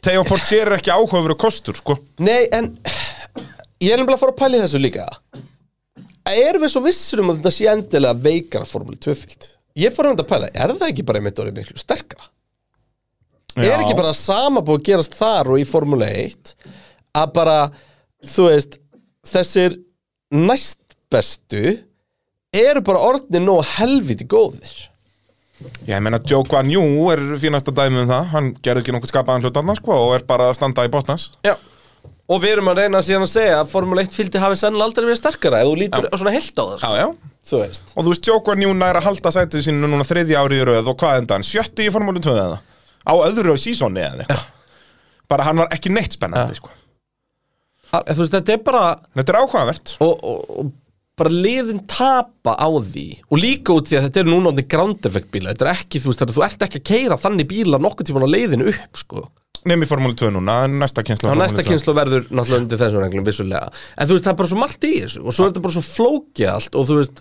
Þegar Eh. Port sér ekki áhugaveru kostur, sko. Nei, en ég er nefnilega að fara að pæla í þessu líka Erum við svo vissur um að þetta sé endilega veikara formúli 2 fyllt? Ég fór að mynda að pæla, er það ekki bara einmitt orðið miklu sterkara? Er ekki bara sama búið að gerast þar og í formúli 1 að bara, þú veist þessir næstbestu eru bara orðnir nóg helviti góðir Já, ég meina, Joe Guan Yu er fínasta dæmi um það. Hann gerði ekki nokkuð skapaðan hlut annars, sko, og er bara að standa í botnas. Já Og við erum að reyna síðan að segja að Formule 1 fylgdi hafi sennilega aldrei verið sterkara ef þú lítur svona heilt á það sko. Já, já. Þú veist Og þú veist, Joe Guan Yu nær að halda sætið sínu núna þriðja árið í röð og hvað endan? Sjötti í formúlu 2 eða? Á öðru á sísóni Eh. eða? eitthvað. Bara hann var ekki neitt spennandi, sko. Að- Þú veist, þetta er bara Þetta er áhugavert. og, og, og bara liðin tapa á því og líka út því að þetta er núna orðnir ground effect bíla þetta er ekki, þú veist, þetta- þú ert ekki að keira þannig bíla nokkuð tímann á leiðinu upp sko. Nefn í formúlu 2 núna, en næsta kynslu. á næsta kynslu verður náttúrulega undir þessu reglum vissulega, en þú veist, það er bara svo margt í þessu og svo er þetta bara svo flókið allt og þú veist,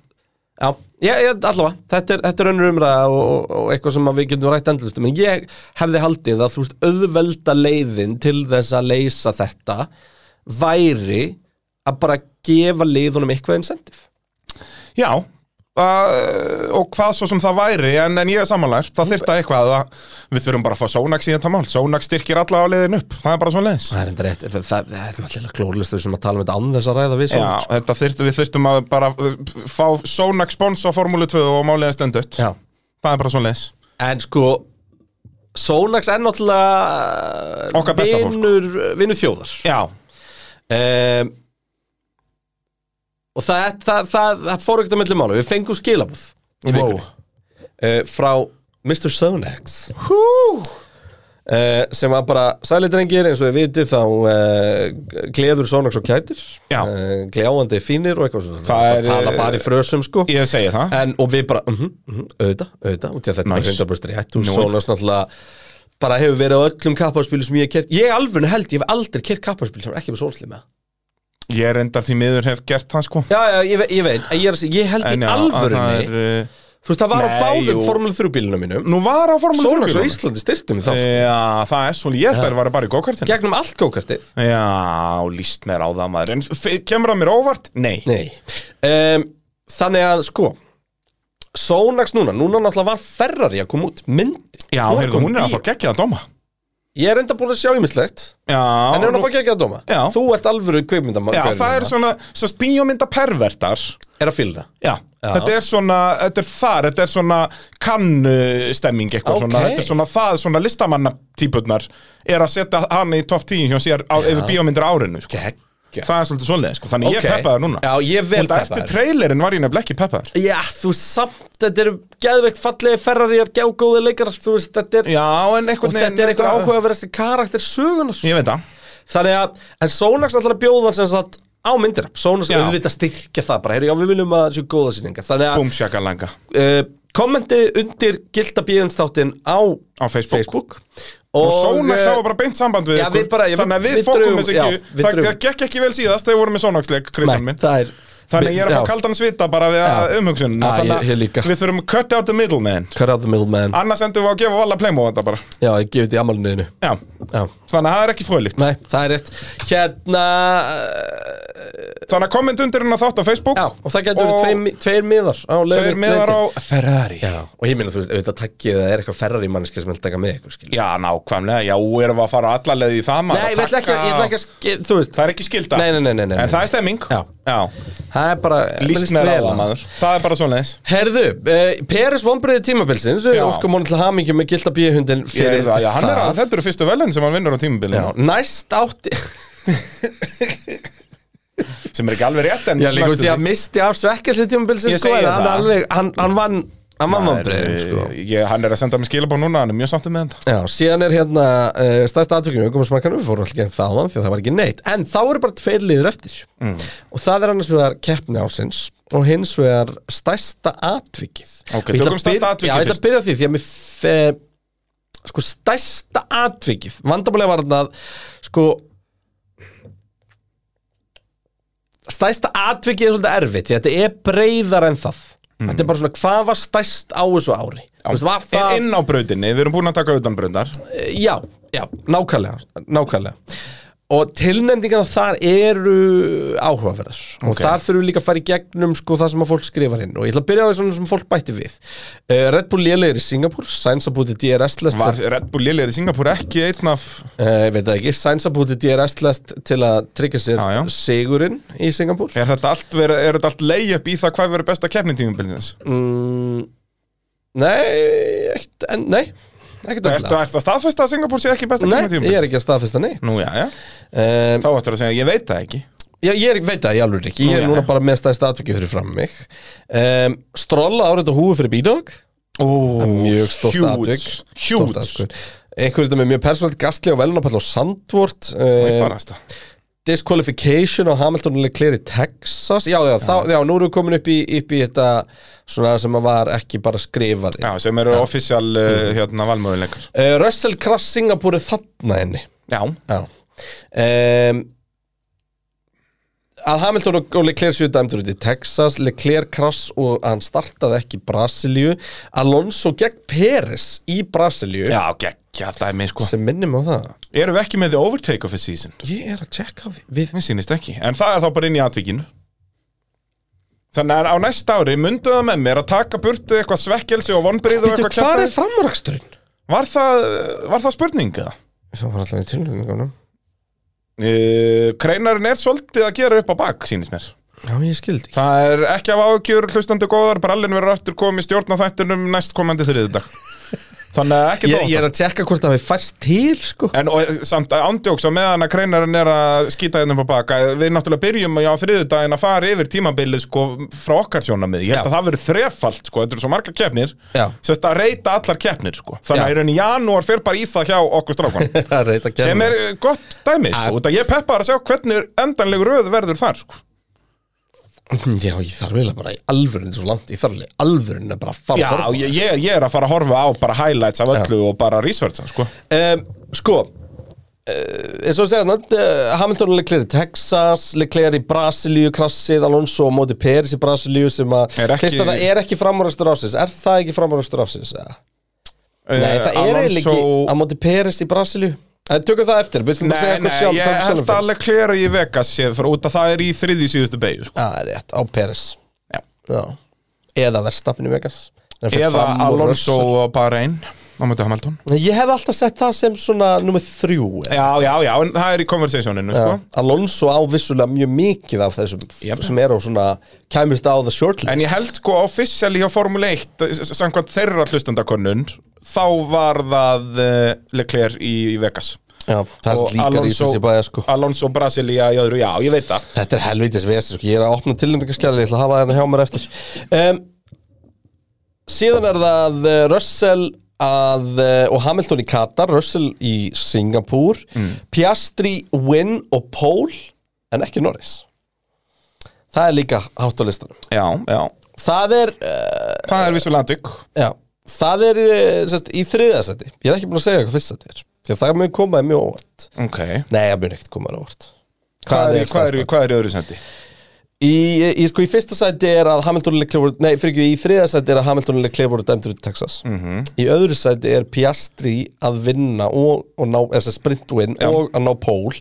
já, ég, ég, allavega þetta er, þetta er önnur umræða og, og, og eitthvað sem að við getum rætt endlustum, en ég hefði haldið að þú veist, auðvelda leiðin til þess að leysa þetta væri að bara gefa liðunum eitthvað incentive Já, uh, og hvað svo sem það væri, en, en ég er samanlært, það þyrta eitthvað að við þurfum bara að fá Sónax í þetta mál. Sónax styrkir alla á leiðin upp, það er bara svona leiðis. Það er enda rétt, það, það, það er náttúrulega klórlist þau sem að tala um þetta án þess að ræða við sko. Já, Sónax. þetta þyrftum við þyrftum að bara uh, fá Sónax spons á Formúlu 2 og máliðin stendut. Já. Það er bara svona leiðis. En sko, Sónax er náttúrulega Okkar besta fólk. vinur, vinur þjóðar. Já, Um, og það, það, það, það fór ekkert að milli mála, við fengum skilabúð í Wow. vikunni uh, frá Mr. Sónax. hú, Uh, sem var bara sælindrengir eins og við vitið þá uh, gleður Sónax og kætir Já. uh, gljáandi fínir og eitthvað svona. Það er, tala bara í frösum sko ég segi það. en, og við bara, mhm, mhm, auðvitað, auðvitað og til að þetta Nice. nice. bara 100% brustur í hættu Nice. Sónas náttúrulega bara hefur verið á öllum kapparspilum sem ég hef kert ég alveg held, ég hef aldrei kert kapparspil sem er ekki með sólslið með Ég er endar því miður hef gert það, sko. já, já, ég, ve ég veit, en ég, er, að segja, ég held En í já, að það alvörunni er, uh, þú veist, það var á Nei, báðum jú. Formule 3 bílunum mínum Nú var á Formúlu Eh. 2 Sónas og Íslandi styrtum þá sko. Já, það er svona, ég held að það var bara í gókartinu. gegnum allt gókartið Já, líst mér á það maður En f- kemur það mér óvart? Nei, Nei um, Þannig að sko Sónax núna, núna náttúrulega var Ferrari að koma út myndi Já, Hún var heyrðu, hún komin er í- að fá gekkið að dóma Ég er enda búin að sjá ýmislegt Já, En er hún nú- að fá ekki að dóma? Já. Þú ert alvöru kveikmyndamann já það er svona svo Bíómynda pervertar já. Er að fylna Já. þetta er svona Þetta er þar, þetta er svona kannstemming eitthvað Ok. svona Þetta er svona það, svona listamanna típurnar Er að setja hana í topp 10 hjá sér á, yfir bíómyndir á árinu sko. Gekkja Það er svolítið svoleiði, sko. þannig ég peppaði núna Já, ég vel Þetta eftir peppaður trailerinn var ég nefnilega ekki peppaður Já, þú samt, þetta eru geðveikt fallegi Ferrariar, gjágóði leikarar Þú veist, þetta er Já, Og en einhvern þetta er einhver áhuga að verast karakter sögunar Ég veit það Þannig að, en Sónax ætlar að bjóða hann sem sagt á myndina Sónax Já. auðvitað styrkja það bara, heyri, já við viljum að það séu góða sýninga Þannig að Búmsjakalanga uh, kommentið undir gilda bíðumstáttin á Á Facebook, Facebook Og Sónax eh, hafa bara beint samband við já, ykkur við bara- já, Þannig að við- við við fókum drögum- þessu já, ekki við Það drögum. það gekk ekki vel síðast þegar við vorum með Sónaxleik, Kristann Nei, minn það er Þannig að ég er að fá kaldan svita bara við að Já. umhugsun Já, Þannig ég- ég líka. að við þurfum cut out the middle man Cut out the middleman Annars endum við á að gefa valla playmo þetta bara Já, ég gefið þetta í ammálniðinu Já, Já, þannig að það er ekki fröðlíkt nei, það er rétt Hérna, eh, Þannig að komment undir hennar þátt á Facebook já, og það getur Og verið tveir, tveir miðar á leiðinni- Tveir meðar á leiðinni. Ferrari Já, og ég minna, þú veist, auðvitað takkið að það er eitthvað ferrar í manneski sem vil taka með ykkur, skilja Já, nákvæmlega, já, erum við að fara alla leið í það maður Nei, ég ætla ekki, að- ég ætla ekki að, ske- þú veist Það er ekki skilda Nei, nei, nei, nei, nei, nei. En það er stemming Já. já. Það er bara Líst mér á það maður Það er bara svoleiðis Herðu, uh, Peris vonbreiði tímabilsins Já. Við óskum honum til hamingju með gilda bíuhundin Ég er fyrir það, já, hann er að, þetta eru fyrstu velin sem hann vinnur á tímabilinu Já, næst átti <laughs> sem er ekki alveg rétt en Já, líka næstu út í að misti af svekkelsi tímabilsins Ég sko, segi en hann, það. alveg, hann, hann vann hann vann Það vonbreiðin er, sko. eh, ég, hann er að senda mér skilabá núna, hann er mjög sáttum með þetta Já, síðan er hérna uh, stærsta atvikinu aukumarsmarkanum, við fórum alltaf gegn þaðan því að það var ekki neitt, en þá eru bara tveir liður eftir Mm. og það er annars vegar keppni ásins og hins vegar stærsta atvikið Ok, Og ég ætla tökum að stærsta byrja- atvikið Já, ég ætla að fyrst. byrja á því því að mér fe- sko stærsta atvikið vandamálega var þarna að sko stærsta atvikið er svolítið erfitt því þetta er breyðar en það Mm. þetta er bara svona hvað var stærst á þessu ári Þú veist, var það, Inn á brautinni, við erum búin að taka utan brautar Eh, já, já, nákvæmlega nákvæmlega og tilnefningarna þar eru áhugaverðar og Ok. þar þurfum við líka að fara í gegnum sko það sem að fólk skrifar inn og ég ætla að byrja á því sem fólk bætti við uh, Red Bull lélegir í Singapur Sainz að búti DRS-lest Var Red Bull lélegir í Singapur ekki einn af Eh, Ég veit það ekki, Sainz að búti DRS-lest til að tryggja sér Já, já. sigurinn í Singapúr Er þetta allt, verið, er þetta allt leið-up í það hvað verður besta keppnitíðumbilsins? mm, Nei, ekkert, en, nei, ekkert Er alltaf þetta staðfesta að Singapur sé ekki besta Nei, ég er keppnitíðumbilsins? ekki að staðfesta neitt Nú já, já, um, þá ættir að segja, ég veit það ekki Já, ég er, veit það, ég alveg ekki, Nú, ég er já, núna já. bara með stæðst atvikið fyrir fram mig um, Strolla árið og húfu fyrir Bídók Ó, Mjög stórt atvik Stórt Hjúts, atvik. Einhverjum þetta með mjög persónalegt gastli á velunapall á Sandvort um, barasta disqualification á Hamilton og Leclerc í Texas já, já, þá, já, nú erum við komin upp í, upp í þetta svona sem að var ekki bara skrifað Já, sem eru offisjál uh, Mm. hérna valmöðuleikar uh, Russell Krass Singapur er þarna henni Já, já um, að Hamilton og, og Leclerc séu dæmdur út í Texas Leclerc Krass og hann startaði ekki í Brasilíu Alonso gegn Peres í Brasilíu já, geggja, það er sko sem minnum á það Erum við ekki með the overtake of the season? ég er að checka á því við, Mér sýnist ekki, en það er þá bara inn í atvikinu Þannig að á næsta ári mundu það með mér að taka burtu eitthvað svekkelsi og vonbrið og Býtu, eitthvað hvað er kjartaði framraksturinn? var, það, var það spurning eða? það var alltaf í tilhengunum Uh, kreinarinn er svolítið að gera upp á bak, sýnist mér já, ég skildi Það er ekki af ágjör hlustandi góðar, brallin verður aftur komið stjórna þættinum næst komandi þriðdag Þannig að ekki ég, ég er að tjekka hvort það við fæst til sko. En og, eh, samt ándjóks að meðan að kreinarinn er að skýta hérna upp á baka Við náttúrulega byrjum á þriðudaginn að fara yfir tímabilið sko frá okkar sjónamið Ég held Já. að það verið þrefalt sko, þetta eru svo margar keppnir Já. Sérst að reyta allar keppnir sko Þannig Já. að í rauninni janúar fer bara í það hjá <laughs> okkur strákan <laughs> Það er reynt að Sem gera er uh, gott dæmi Já. sko Út að ég peppar að sjá hvernig endanleg röð verður þar sko það. Já, ég þarf eiginlega bara í alvörinu svo langt Ég þarf alveg í alvörinu bara að fara Já, að horfa. ég, ég, ég er að fara að horfa á bara highlights af öllu og bara researcha sko um, Sko uh, eins og að segja þannig uh, Hamilton og Leclerc í Texas Leclerc í Brasilíu, krassið Alonso og móti Peris í Brasilíu sem að Er ekki- Fyrst að það er ekki framúrastur ásins Er það ekki framúrastur ásins? eða? Nei, Eh, það er eiginlega Alonso- ekki að móti Peris í Brasilíu Eh, Tökum það eftir, við skulum Nei, segja nei, hvað sjálf ég hvað sjálfum held að finnst. alveg klera í Vegas sé fyrir út að það er í þriðju síðustu beigju sko. Já, það er rétt, á Peris Já. Já. Eða verðstapinu Vegas Nei, fyrir Eða fram og Alonso Russell. og Bahrein á mæti Hamilton Nei, Ég hef alltaf sett það sem svona nummið þrjú eða- Já, já, já, en það er í konversationinu sko. Alonso á vissulega mjög mikið af þessum sem er á svona kæmist á the shortlist En ég held sko officially hjá Formule 1 s- s- samkvæmt þeirra hlustandakönnun þá var það uh, Leclerc í, í Vegas Já, það Og er líka í þessi bæja sko Alonso Brasilia í öðru, já, ég veit það Þetta er helvitis vesi sko, ég er að opna tilnefningarskjæli, ég ætla að hafa þetta hjá mér eftir um, Síðan er það eh, Russell að, eh, og Hamilton í Katar, Russell í Singapúr Mm. Piastri, Wynn og Pól en ekki Norris Það er líka hátt á listanum Já, já, Það er, uh, það er vissulega atvik já, það er uh, sest, í þriðasæti Ég er ekki búin að segja hvað fyrst þetta er Því að það mun komaði mjög óvart Ok, Nei, það mun ekkert komaði óvart hvað er, í- hvað, er, staðan? í- hvað er í öðru sendi? Í, í, sko, í fyrsta sæti er að Hamilton og Leclerc voru, nei, fyrir ekki, í þriða sæti er að Hamilton og Leclerc voru dæmdur út í Texas Mhm. Í öðru sæti er Piastri að vinna og, og ná, þess að sprintwin og að ná pól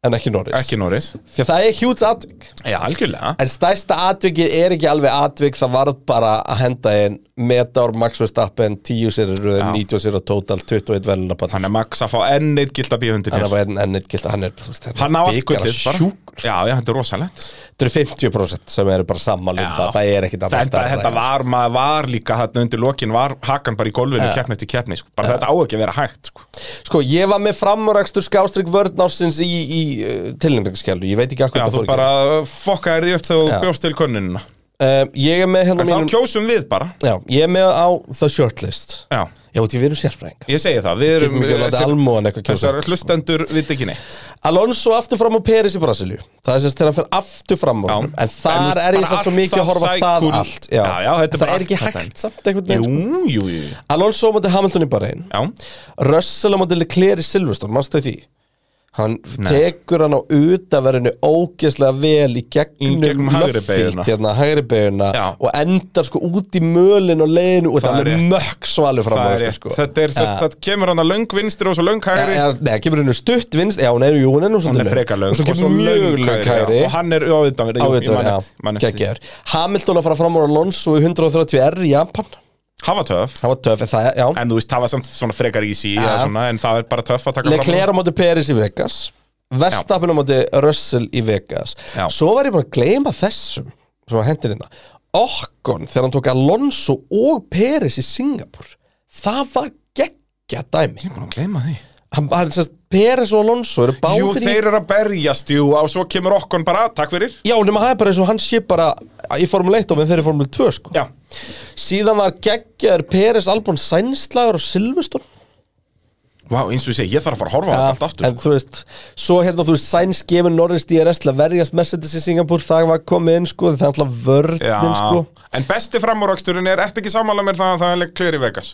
en ekki Norris Ekki Norris Því að það er hjúts atvik Já, algjörlega En stærsta atvikið er ekki alveg atvik það varð bara að henda einn Meteor, Max Verstappen, 10 sérir 90 sérir total, 21 velunapall Þannig að Max að fá enn eitt gilda bíhundir Hann er bara enn enn eitt gilt Hann er, þú veist, Hann á allt bikar- gullið bara sjúk- sko. Já, já, þetta er rosalegt Þetta eru 50% sem eru bara sammálu um Já. það Það er ekkit annað Þetta, stærra, þetta já. var, maður var líka þarna undir lokin var hakan bara í golfinu Já. keppni eftir keppni sko. bara þetta á ekki að vera hægt sko. Sko, ég var með framúrækstur skástrík vörðnársins í, í uh, tilnefningarskjælu, ég veit ekki akkur Já, það fór þú ekki. bara fokkaðir því upp þegar þú Já. bjóst til könnunina um, Ég er með hérna En þá mínum kjósum við bara Já, ég er með á the shortlist Já, Já, því við erum sérfræðingar ég segi það Við Getum erum ekki að láta sem- almóan eitthvað kjósa Þessar hlustendur vit ekki neitt Alonso aftur fram á Peris í Brasilíu Það er sérst þegar hann fer aftur fram á Já. honum En En þú þar veist, er ég samt bara svo allt mikið að það horfa á það sækúl- allt já. Já, já, þetta En er Það bara er ekki allt þetta. hægt samt einhvern Jú, veginn jú, jú Alonso á móti Hamilton í Bahrein Já, Russell á móti Leclerc í Silverstone, mannstu því Hann tekur hann á utaverinu ógeðslega vel í gegnum, Í gegnum hægri beygjuna. löffílt hérna, hægri beiguna Já. og endar sko út í mölin og leiðinu og Það það er er rétt. mökk svalur fram á það er þessu rétt sko Þetta er, Ja. sérst, það kemur hann að löng vinstri og svo löng Ja, hægri ja, Nei, kemur hennu stutt vinst Já, hún er, jú, hún er nú Hann svolítið er löng. frekar löng Og svo kemur mjög lög hægri já. Og hann er ávitan verið Ávitur, já, Geggja geggjör Hamilton að fara fram úr Alonso í 130R í Japan Hann var töff Það var töf, það, já En þú veist, það var samt svona frekar easy Ja. ja. svona, En það er bara töff að taka Leclerc á móti Peris í Vegas Vestapin á móti Russell í Vegas Já. Svo var ég bara að gleyma þessum sem var hendur hérna Okkon þegar hann tók Alonso og Peris í Singapur Það var geggja dæmi Ég er búin að gleyma því hann, hann, sérst, Peris og Alonso eru báðir Jú, í þeir eru að berjast, jú Og svo kemur okkur bara, takk fyrir Já, nema það er bara eins og hann sé bara í Formule 1 og þeir eru í Formule 2 sko Já, Síðan var geggjaður Peres Albon Sænslagur og Silveston vá, eins og ég segi, ég þarf að fara að horfa á þetta allt aftur sko. En þú veist, svo hérna þú veist Sæns gefur Norris DRS til að verjast Mercedes í Singapur, það var komið inn sko það er alltaf vörðin sko Já, en besti framúröksturinn er, ertu ekki sammála mér það að það er Leclerc í Vegas?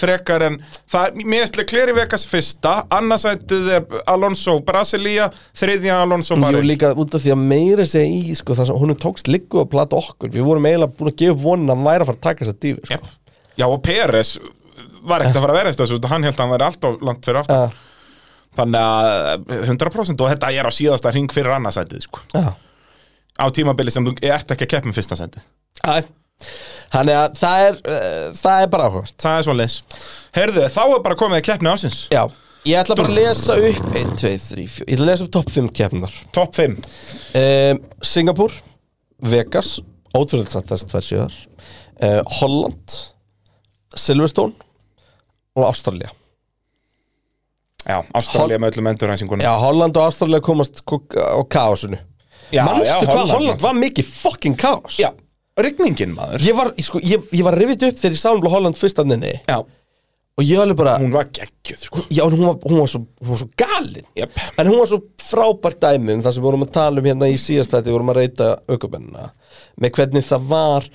Frekar en, það, mér er Leclerc í Vegas fyrsta, annarsættið er Alonso Brasilia, þriðja Alonso Jú Bahrein. líka út af því að meira segja í sko, það sem hún tókst liggu að plata okkur við vorum eiginlega búin að gefa vonin að hann væri að fara að taka þess að dífi sko. Jep. Já, og Peres var ekkert að fara að verðast þessu, hann held að hann væri alltaf langt fyrir aftan. yeah. Þannig að 100% og þetta er á síðasta hring fyrir annarsættið, sko. Já, Á tímabili sem þú ert ekki að keppum fyrsta sættið. já Þannig að það er, uh, það er bara áhugavert Það er svo leins. Heyrðu, þá er bara komið að keppni ásins. Já, ég ætla bara að lesa upp 1, 2, 3, 4, ég ætla að lesa upp topp 5 keppnar Topp 5. um, Singapur Vegas, ótrúlega samt þess tvær síðar uh, Holland Silverstone og Ástralja Já, Ástralja með öllum endurhæsingunum. Já, Holland og Ástralja komast kuk- á kaosinu Já, já, Manstu hvað Holland, Holland var mikið fucking kaos Já, rigningin maður Ég var, ég sko, ég, ég var rifið upp þegar ég sá um Holland fyrst að nenni Já, og ég alveg bara, hún var geggjöð sko já, en hún var, hún var svo, hún var svo galin Jep, En hún var svo frábært dæmi um það sem við vorum að tala um hérna í síðast þetta við vorum að reyta aukabennina með hvernig það var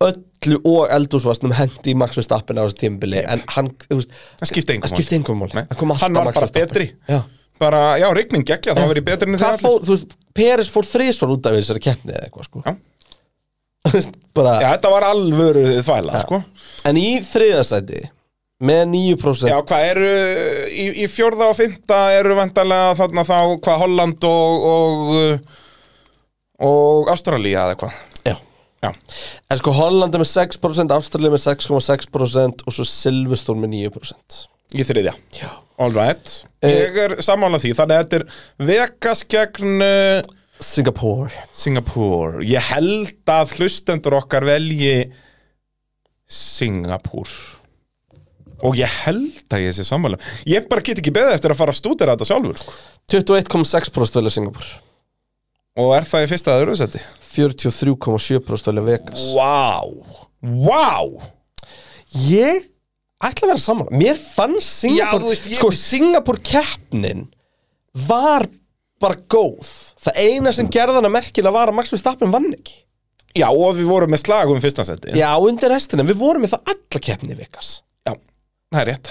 öllu og eldúsvastnum hendi í Max Verstappen á þessu tímbili en hann, þú veist, það skipti engum það skipti engum máli Nei. það kom alltaf Hann var Max bara Verstappen. betri. Já. Bara, já, rigning geggja, það var verið betri en Það þeir fór, þú veist, Peres fór þrísvar út af þessari keppni eða eitthvað sko Já. <laughs> Þú veist, bara, Já, þetta var alvöru þvæla sko en í þriðastæti með 9% Já, hvað eru, í, í fjórða og fymta eru vandalega þarna þá hvað Holland og og, uh, og Ástralía eða hvað Já. Já, En sko Hollanda með 6% Ástralja með 6,6% og svo Silvestorm með 9% í þriðja Já All right, Eh, ég er sammála því Þannig að þetta er Vegas gegn uh, Singapore Singapore Ég held að hlustendur okkar velji Singapore Og ég held að ég sé sammála Ég bara get ekki beðið eftir að fara að stúdera þetta sjálfur sko. 21,6% velja Singapur Og er það í fyrsta að öðru seti 43,7% velja Vegas Vá Vá Ég ætla að vera saman Mér fannst Singapur Já, þú veist, ég- Sko, Singapur keppnin var bara góð Það eina sem gerði hana merkilega var að Max Verstappen vann ekki Já og við vorum með slag um fyrsta seti Já, undir restina, við vorum með það alla keppni í Vegas Já, það er rétt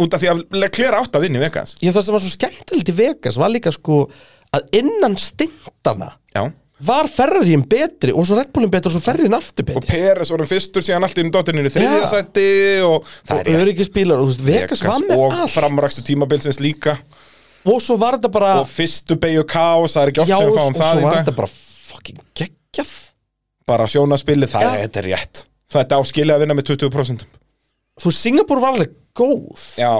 Út af því að Leclerc átt að vinna í Vegas Ég það sem var svo skemmtilegt í Vegas var líka sko að innan stindana Já var Ferrariðin betri og svo Red Bullin betri og svo Ferrariðin aftur Og betri Peres vorum fyrstur síðan allt inn í dottininu Já. þriðja seti og og öryggisbílar, og þú veist, Vegas, Vegas var með og allt framrækstu tímabilsins líka og svo var þetta bara og fyrstu beigju kaos, það er ekki oft Ah. já, og sem við svo fáum það í var dag þetta bara fucking geggjað bara sjónaspili, það Já. er, þetta er rétt þetta áskilja að vinna með 20% þú veist, Singapur var alveg góð já,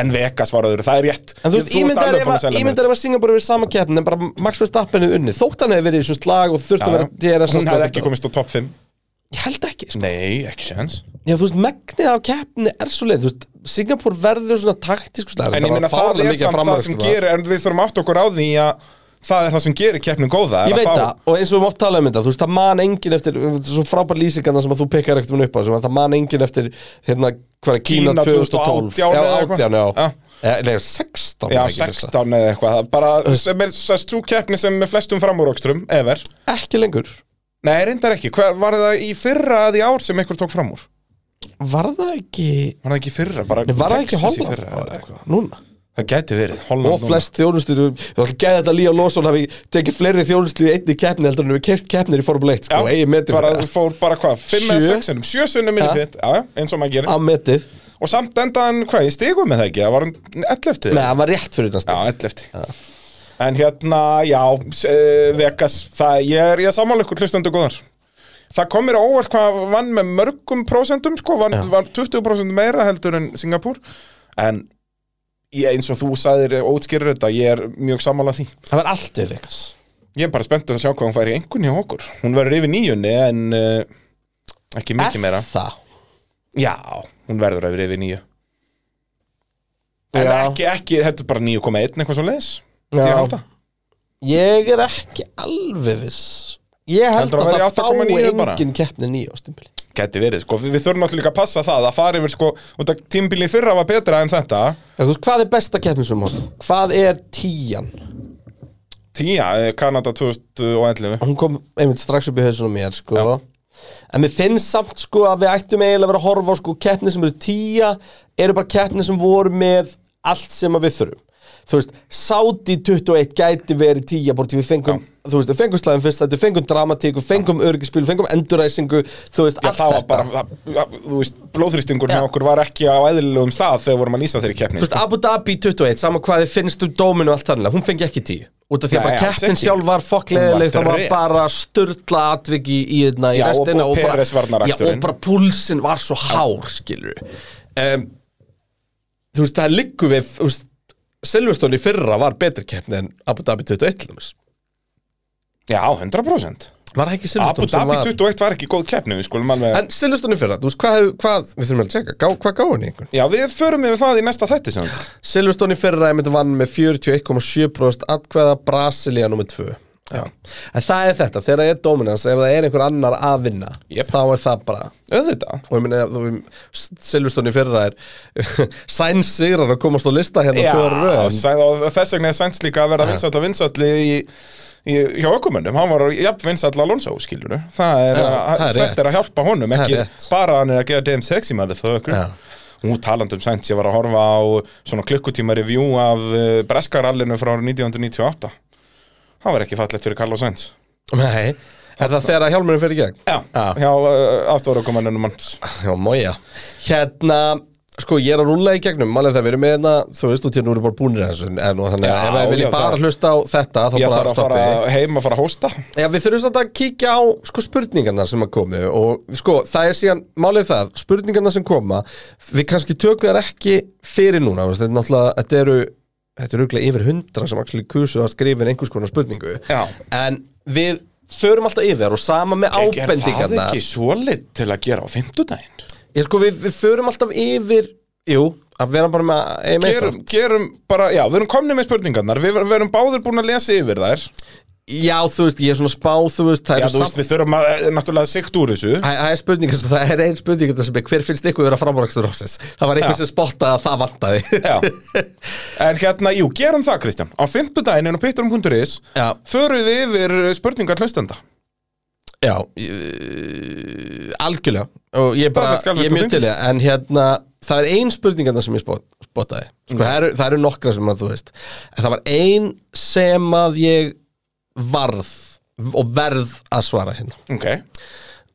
en Vegas var öðru, það er rétt en þú veist, ímyndar ef að- ímyndar ef að Singapur við sama keppni en bara Max Verstappen er unni þótt hann hefði verið í þessum slag og þurfti að vera DRS að hún hefði stoppa ekki þetta. komist á topp 5 ég held ekki, sko. nei, ekki sjans já, þú veist, megnið af keppni er svo leið, þú veist, Singapur verður svona taktisk, sko, en ég meina það er samt það sem gerir, en við þurfum átt okkur á því að það er það sem gerir keppnum góða er Ég að veit fá- það, og eins og við mátt tala um þetta Þú veist, það man engin eftir þetta er Svo frábær lýsingarna sem að þú pekar ekkert minn upp á sem að Það man engin eftir, hérna, hvað er Kína, Kína 2012 2018 Já, eða eitthvað. 18, já Já. Eh, Nei, 16 var Já, ekki þessa. 16 eða eitthvað, það er bara, sem er sérst svo keppni sem er flestum framúrökstrum, ever. Ekki lengur Nei, reyndar ekki, Hva, var það í fyrra að í ár sem einhver tók framúr? Var það ekki Var það ekki í fyrra, bara Nei, var það ekki Texas í Holland? fyrra, bara eða- eitthvað? Núna Það gæti verið, Holland Og flest þjónustur Það er gæði þetta Líó Lóson hafi tekið fleiri þjónustu í einni keppni heldur en við kert keppnir í Formule 1 sko, eigi metið bara, fyrir fór bara hvað, 5 Sjö? eða 6 sinnum, 7 sinnum minni Ja. pitt, já, eins og maður gerir að metið Og samt enda hann, hvað, ég stigum með það ekki, það var um hann 11 Nei, hann var rétt fyrir Já, þetta 11 En hérna, já, s- eh, Vegas, það, ég er, ég er sammála ykkur hlustendur góðar Það kom mér á óvart hvað vann með mörgum prósentum, sko, vann, Já. vann 20% meira heldur en Singapúr En ég, eins og þú sagðir ótskýrur þetta, ég er mjög sammála því Það var allt við Vegas Ég er bara spenntur að sjá hvað hún fær í einhvern hjá okkur Hún verður yfir nýjunni en uh, ekki mikið meira það Já, hún verður yfir yfir nýju En Já. ekki, ekki, þetta er bara 9,1 eitthvað svo leis Já. Já, Ég er ekki alveg viss Ég held Heldur að, það að það fái væri 8,9 engin bara? keppni nýja á stimpili gæti verið, sko Við, við þurfum náttúrulega líka að passa það að fara yfir, sko Út að tímbili fyrra var betra en þetta Þú veist, hvað er besta keppni sem hóttum? Hvað er tíjan? Tía, eh, Kanada 2011 Hún kom einmitt strax upp í hausunum mér, sko En mér finnst samt, sko, að við ættum eiginlega að vera að horfa á, sko, keppni sem eru tíja eru bara keppni sem voru með allt sem að við þurfum Þú veist, Saudi 21 gæti verið tíja bara til við fengum, þú veist, við fengum slæðum fyrst þetta, við fengum dramatík, við fengum örgispil, fengum enduræsingu, þú veist, Já, allt það var þetta bara, það- það- þú veist, blóðþrýstingur Já. hjá okkur var ekki á eðlilegum stað þegar vorum að lýsa þeirri keppni Þú veist, Abu Dhabi 21, sama hvað þið finnst um dóminu og allt þannig, hún fengi ekki tíu Út af því að Nei, bara alls kettin ekki. sjálf var fokkleðileg, Hún var það var drep. bara sturla atviki í, hérna, í Já, og- restina og bara- Peres Já, varnaraksturinn. og bara púlsinn var svo hár, skilur um, Þú veist, það liggur við þú veist, Silveston í fyrra var betri keppni en Abu Dhabi 21 til dæmis. Já, 100% Var það ekki Abu Silveston sem Dhabi var 21 var ekki góð keppni, við skulum alveg En Silveston í fyrra, þú veist, hvað, hef- hvað við þurfum að tjekka, gá, hvað gáði henni einhvern? Já, við förum yfir það í næsta þætti sem þetta. Silveston í fyrra einmitt vann með 41,7% atkvæða Brasilia nummer 2 Já. En það er þetta, þegar það er dominans ef það er einhver annar að vinna Jep. þá er það bara Auðvitað og ég meina, þú- Silveston í fyrra er <laughs> sæn sigrar að komast á lista hérna tvö ára í röð. sæ- og þess vegna er Sainz líka að verða vinsall að vinsall í, í, hjá ökumönnum Hann var jafn vinsall að Alonso, skilur Það er, Já, að- það er þetta rétt. er að hjálpa honum, Það er ekki rétt. bara að hann er að gera damn sexy motherfucker Já. Nú talandi um Sainz, ég var að horfa á svona klukkutíma review af uh, Breskarallinu frá árið 1998 Það var ekki fallegt fyrir Carlos Sainz Nei, er það þegar að hjálmurinn fyrir gegn? Já, Já. hjá uh, aftórakumönnunum hans Já, mója Hérna, sko, ég er að rúlla í gegnum Málega það við erum með hérna, þú veist, út í hérna voru bara búnir að þessu En og þannig að Já, ef við viljum já, bara það- hlusta á þetta þá Ég bara þarf að stoppið. fara heim að fara að hósta Já, við þurfum samt að kíkja á sko, spurningarnar sem að komu og sko, það er síðan, málið er það, spurningarnar sem koma, við kannski tökum þær ekki fyrir núna, þú veist, þetta er náttúrulega, þetta eru, þetta eru örugglega yfir hundra sem actually kusu að skrifa inn einhvers konar spurningu, Já. en við förum alltaf yfir þær og sama með Er það ábendingarnar. ekki svolít til að gera á fimmtudaginn? Ég sko, við, við förum alltaf yfir, jú, að vera bara með einu Gerum, gerum bara, já, við erum komnið með spurningarnar Við við erum báður búin að lesa yfir þær Já, þú veist, ég er svona spá, þú veist, það Já, eru þú veist, samt... við þurfum að, eh, náttúrulega sikt úr þessu Það það er spurningar sem það er ein spurning þarna sem er hver finnst ykkur vera framrækstur ásins það var einhver Já. sem spottaði að það vantaði <laughs> Já En hérna, jú, gerum það, Kristján Á fimmtudaginn en á pitturum.is Já. Förum við yfir eh, spurningar hlustenda Já, ég- algjörlega og ég er bara, Staðfest skal ég er þetta mjög til í það en hérna, það er ein spurning þarna sem ég spot- spottaði sko, það, eru, það eru nokkra sem að þú veist en það var ein sem að ég varð og verð að svara hérna Ok,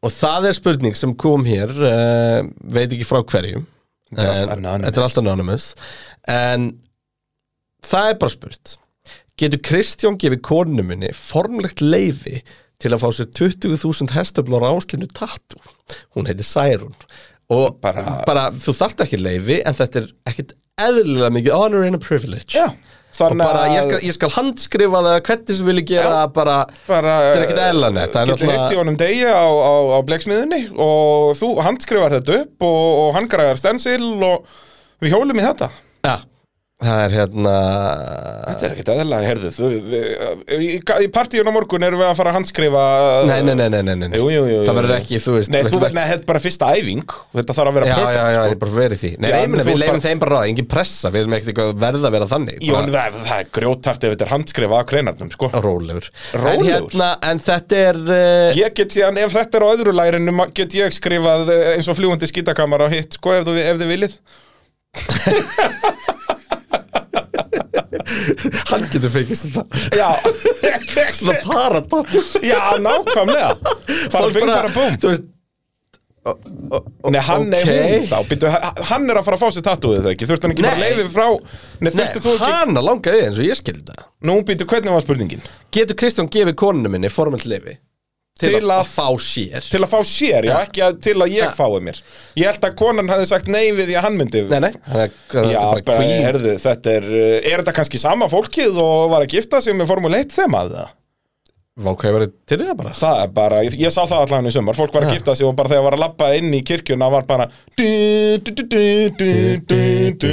og það er spurning sem kom hér uh, veit ekki frá hverjum Þetta er allt En- anonymous. þetta er allt anonymous en það er bara spurt getur Kristján gefið konu minni formlegt leifi til að fá sér 20.000 hestöflur á áslinu tattu hún heitir Særún og bara, Bara- þú þarft ekki leifi en þetta er ekkit eðlilega mikið honor and a privilege já og Þannig bara að ég skal, ég skal handskrifa það hvernig sem vilji gera það bara bara, þetta er ekkit eðlanett það er Getur náttúrulega- heyrt í honum degi á, á, á bleksmiðunni og þú handskrifar þetta upp og, og hann græðar stensil og við hjólum í þetta Já, það er hérna Þetta er ekkert eðalega, herðu þú, við- í, í partíun á morgun erum við að fara að handskrifa nei, nei, nei, nei, nei, nei. Jú, jú, jú, jú. það verður ekki, þú veist Nei, við þú ætlum veit, nei, þetta er bara fyrsta æfing Þetta þarf að vera Já, perfect já, já, sko. ég er bara verið því Nei, Já, ég en meina, þú við ert leifum bara- þeim bara ráð, engin pressa Við erum ekkert eitthvað verða að vera þannig Jú, en það, það er grjótart ef þetta er handskrifa að kreinarnum, sko Rólegur En, Rólegur? hérna, en þetta er uh, Ég get síðan, ef þetta er á öðru lærinu ma- get ég skrifað eh, eins og fljúandi skítakamar á hitt, sko, ef þú- ef þið viljið Hann getur fengið sem það Já Svona paradat <laughs> Já, nákvæmlega Bara Fólk bing, bara búm Þú veist Nei, hann ok. er hún þá, býttu, hann er að fara að fá sér tattúið það ekki, þurfti hann ekki bara Nei. leifi frá Nei, þurfti Nei, þú ekki hana langaði eins og ég skildi það Nú býttu, hvernig var spurningin? Getur Kristján gefið konunum minni formelt lifi Til, Til að, að- fá sér Til að fá sér, já, ekki að, til að ég Ja. fái mér Ég held að konan hafði sagt nei við því að hann myndi Nei, nei, hann er, hann Já, er bara bara, queen herðu, þetta er, uh, er þetta kannski sama fólkið og var að gifta sig með Formule 1 þeim að það? Vákvæði verið til það bara Það er bara, ég, ég sá það allan í sumar, fólk var að gifta sig og bara þegar var að labba inn í kirkjuna var bara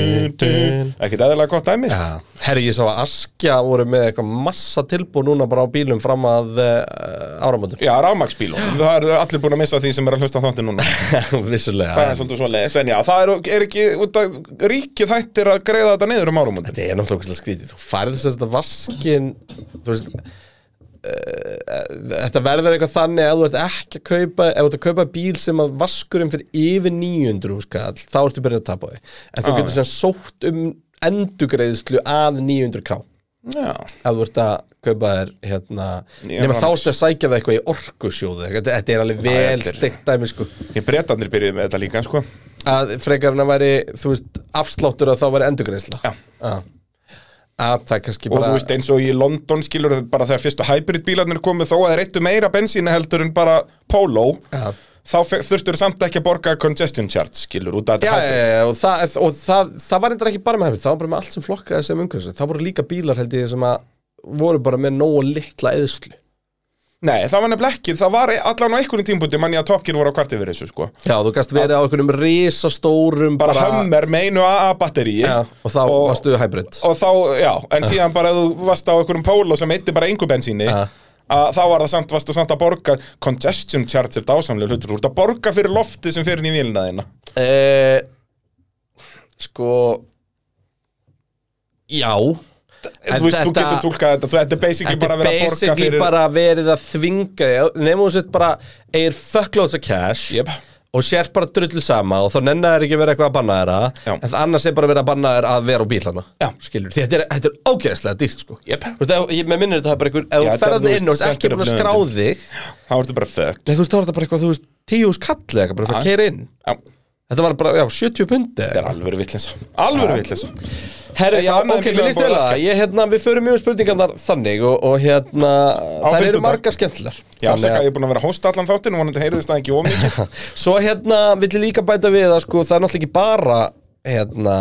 Ekkert eðlilega gott dæmi sko. Já, herri ég sá að Askja voru með eitthvað massa tilbúð núna bara á bílum fram að uh, áramótum Já, rámaksbíl og það eru allir búin að missa því sem er að hlusta þáttir núna Það <laughs> Vissulega er svolítið svoleiðis, en já, það er, er ekki, út að ríkið hættir að greiða þetta niður um árum Þetta er náttúrulega ógeðslega skrítið Þú færði þess að vaskin Þú veist uh, Þetta verður eitthvað þannig að þú ert ekki að kaupa Ef þú ert að kaupa bíl sem að vaskurinn fyrir yfir 900 skall Þá ertu byrjað að tapa því En þú Ah, getur sem sótt um endugreiðslu að 900k Já, Ef þú ert að kaupa þér hérna Nýjan Nefnir þá Rolex. ertu að sækja það eitthvað í orkusjóðu Þetta þetta er alveg þetta vel er- steikt dæmi sko ég breytandir byrjuði með þetta líka, sko að frekar en að væri þú veist, afsláttur að þá væri endugreiðsla Já. að, að það er kannski Og bara þú veist eins og í London skilur þetta bara þegar fyrstu hybridbílarnir komu þó að þeir eittu meira bensíni heldur en bara Polo Já. þá fe- þurftur samt ekki að borga congestion charge skilur út af Já, þetta já, hybrid já, og, það, og það, það var endur ekki bara með hefnir, það var bara með allt sem flokkaði sem umhverfis það voru líka bílar held ég sem að voru bara með nógu litla eðslu Nei, það var nefnilega ekki, það var allan á einhverjum tímpúti mann ég að Top Gear voru á kvart yfir þessu sko Já, þú gast verið á einhverjum risastórum bara, Hummer með einu AA-batterí Já, og þá Og- varstu hybrid og þá, já, en síðan bara ef þú varst á einhverjum Polo sem eitti bara einhver bensíni Já. að þá var það samt, varstu samt að borga congestion charge er dásamlega hlutur þú ert að borga fyrir lofti sem fyrir inn í vélina þína e, Sko Já En Þú veist, þú þetta- getur tólkað þetta, þú- þetta er basically Þetta bara er að vera að borga basically fyrir bara verið að þvinga þig Nefnum þú sett bara Egir fuckloads of cash Jep. Og sér bara drullu sama Og þá nennar þér ekki að vera eitthvað að banna þér Já. að En annars er bara verið að banna þér að vera á bíl hana Já. Skilur, þetta er, þetta er ógeðslega dýrt sko Jep. Þú veist, ef- ég, Mér minnir þetta bara einhver Ef Já, þú þetta- þú ferðið veist, inn og ert sendir ekki búin að upp skrá þig Þá ertu bara fucked Nei þú veist, þá er þetta bara eitthvað, þú veist, tíu hús kall eða eitthvað bara fyrir að Já. keira inn Já, Þetta var bara, já, 70 pundi þetta er alvöru vitleysa Alvöru vitleysa Herru, Eitthvað já, annað en ok, bílar mér líst búið vel að að laska. ég, hérna, við förum mjög spurningarnar þannig og, og hérna, þær eru fimmtudag. margar skemmtilegar Já, Þannig segja að- <laughs> að ég er búin að vera að hósta allan þáttinn og vonandi heyrðist það ekki ómikið Svo hérna vill ég líka bæta við að sko það er náttúrulega ekki bara hérna,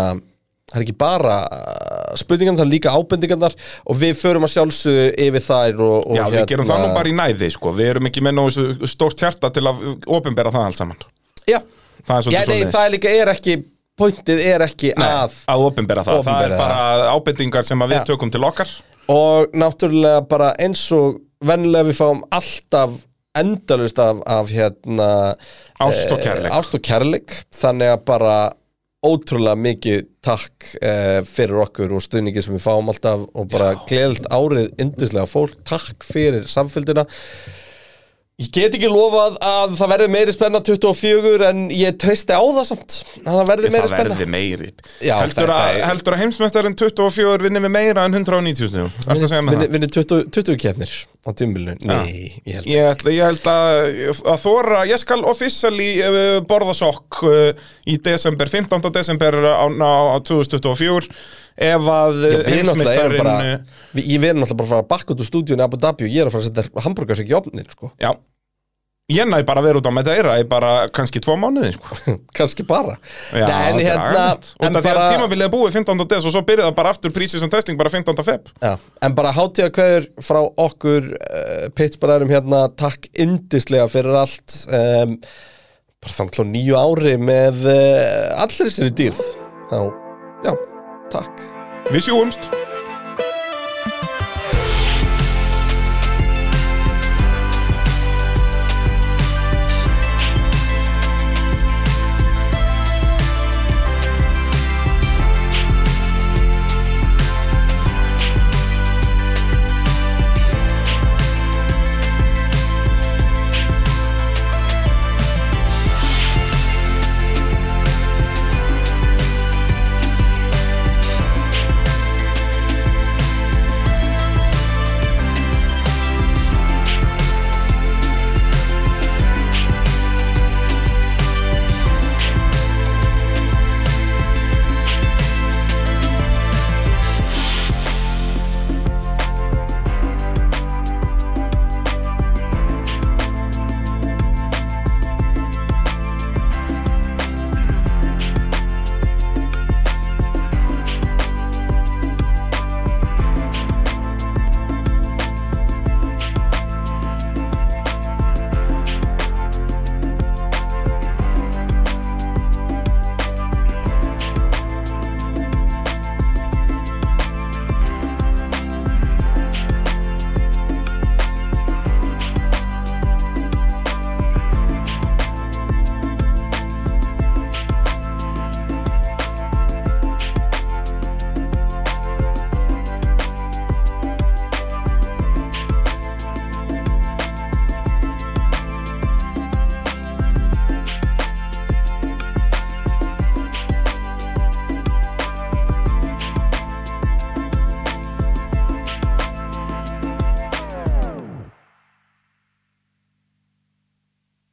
það er ekki bara uh, spurningarnar, það er líka ábendingarnar og við förum að sjálfsögðu yfir þær og, <laughs> og hérna- Já, við gerum það nú bara í næði, sko Við erum ekki með nógu stórt hjarta til að opinbera það alls saman Já, Það er Já nei, svolítið svoleiðis. það er líka, er ekki pointið er ekki að Að opinbera það, Opinbera það er bara ábendingar sem að við Já. tökum til okkar og náttúrulega bara eins og venlega við fáum alltaf endalust af, af hérna Ást og kærleik. eh, ást og kærleik þannig að bara ótrúlega mikið takk eh, fyrir okkur og stuðningi sem við fáum alltaf og bara gleðilt árið yndislega fólk, takk fyrir samfélgina Ég get ekki lofað að það verði meiri spenna 24 en ég treysti á það samt að það verði meiri Það spenna verði meiri Já, Heldur það- að, það er- heldur að heimsmeistarinn 24 vinni með meira en 190 stundum Ertu að segja með það? Vinni 20, 20 kefnir á tímbilinu Nei, ég held Ég, ætla, ég held að, að þóra, ég skal officially uh, borða sokk uh, í desember, 15. desember á, á, á 2024 ef að Já, uh, við náttúrulega erum bara uh, við, Ég verðum náttúrulega bara að fara bakk út úr stúdíunni í Abu Dhabi og ég er að fara að setja hambúrgar ekki í opnin sko. <laughs> Já, ég næ bara að vera út á Madeira í bara kannski tvo mánuði sko. kannski bara Nei, Já, en þetta er hérna agalegt. Út en af því að bara- tímabilið er búið 15. des og svo byrjaði það bara aftur prísis og testing bara 15. feb Já, en bara hátíða hverjur frá okkur uh, pittsbaraðurum hérna, takk yndislega fyrir allt um, bara þannig til á eh, nýju ári með uh, allir þessari dýrð þá, já, takk Við sjúumst!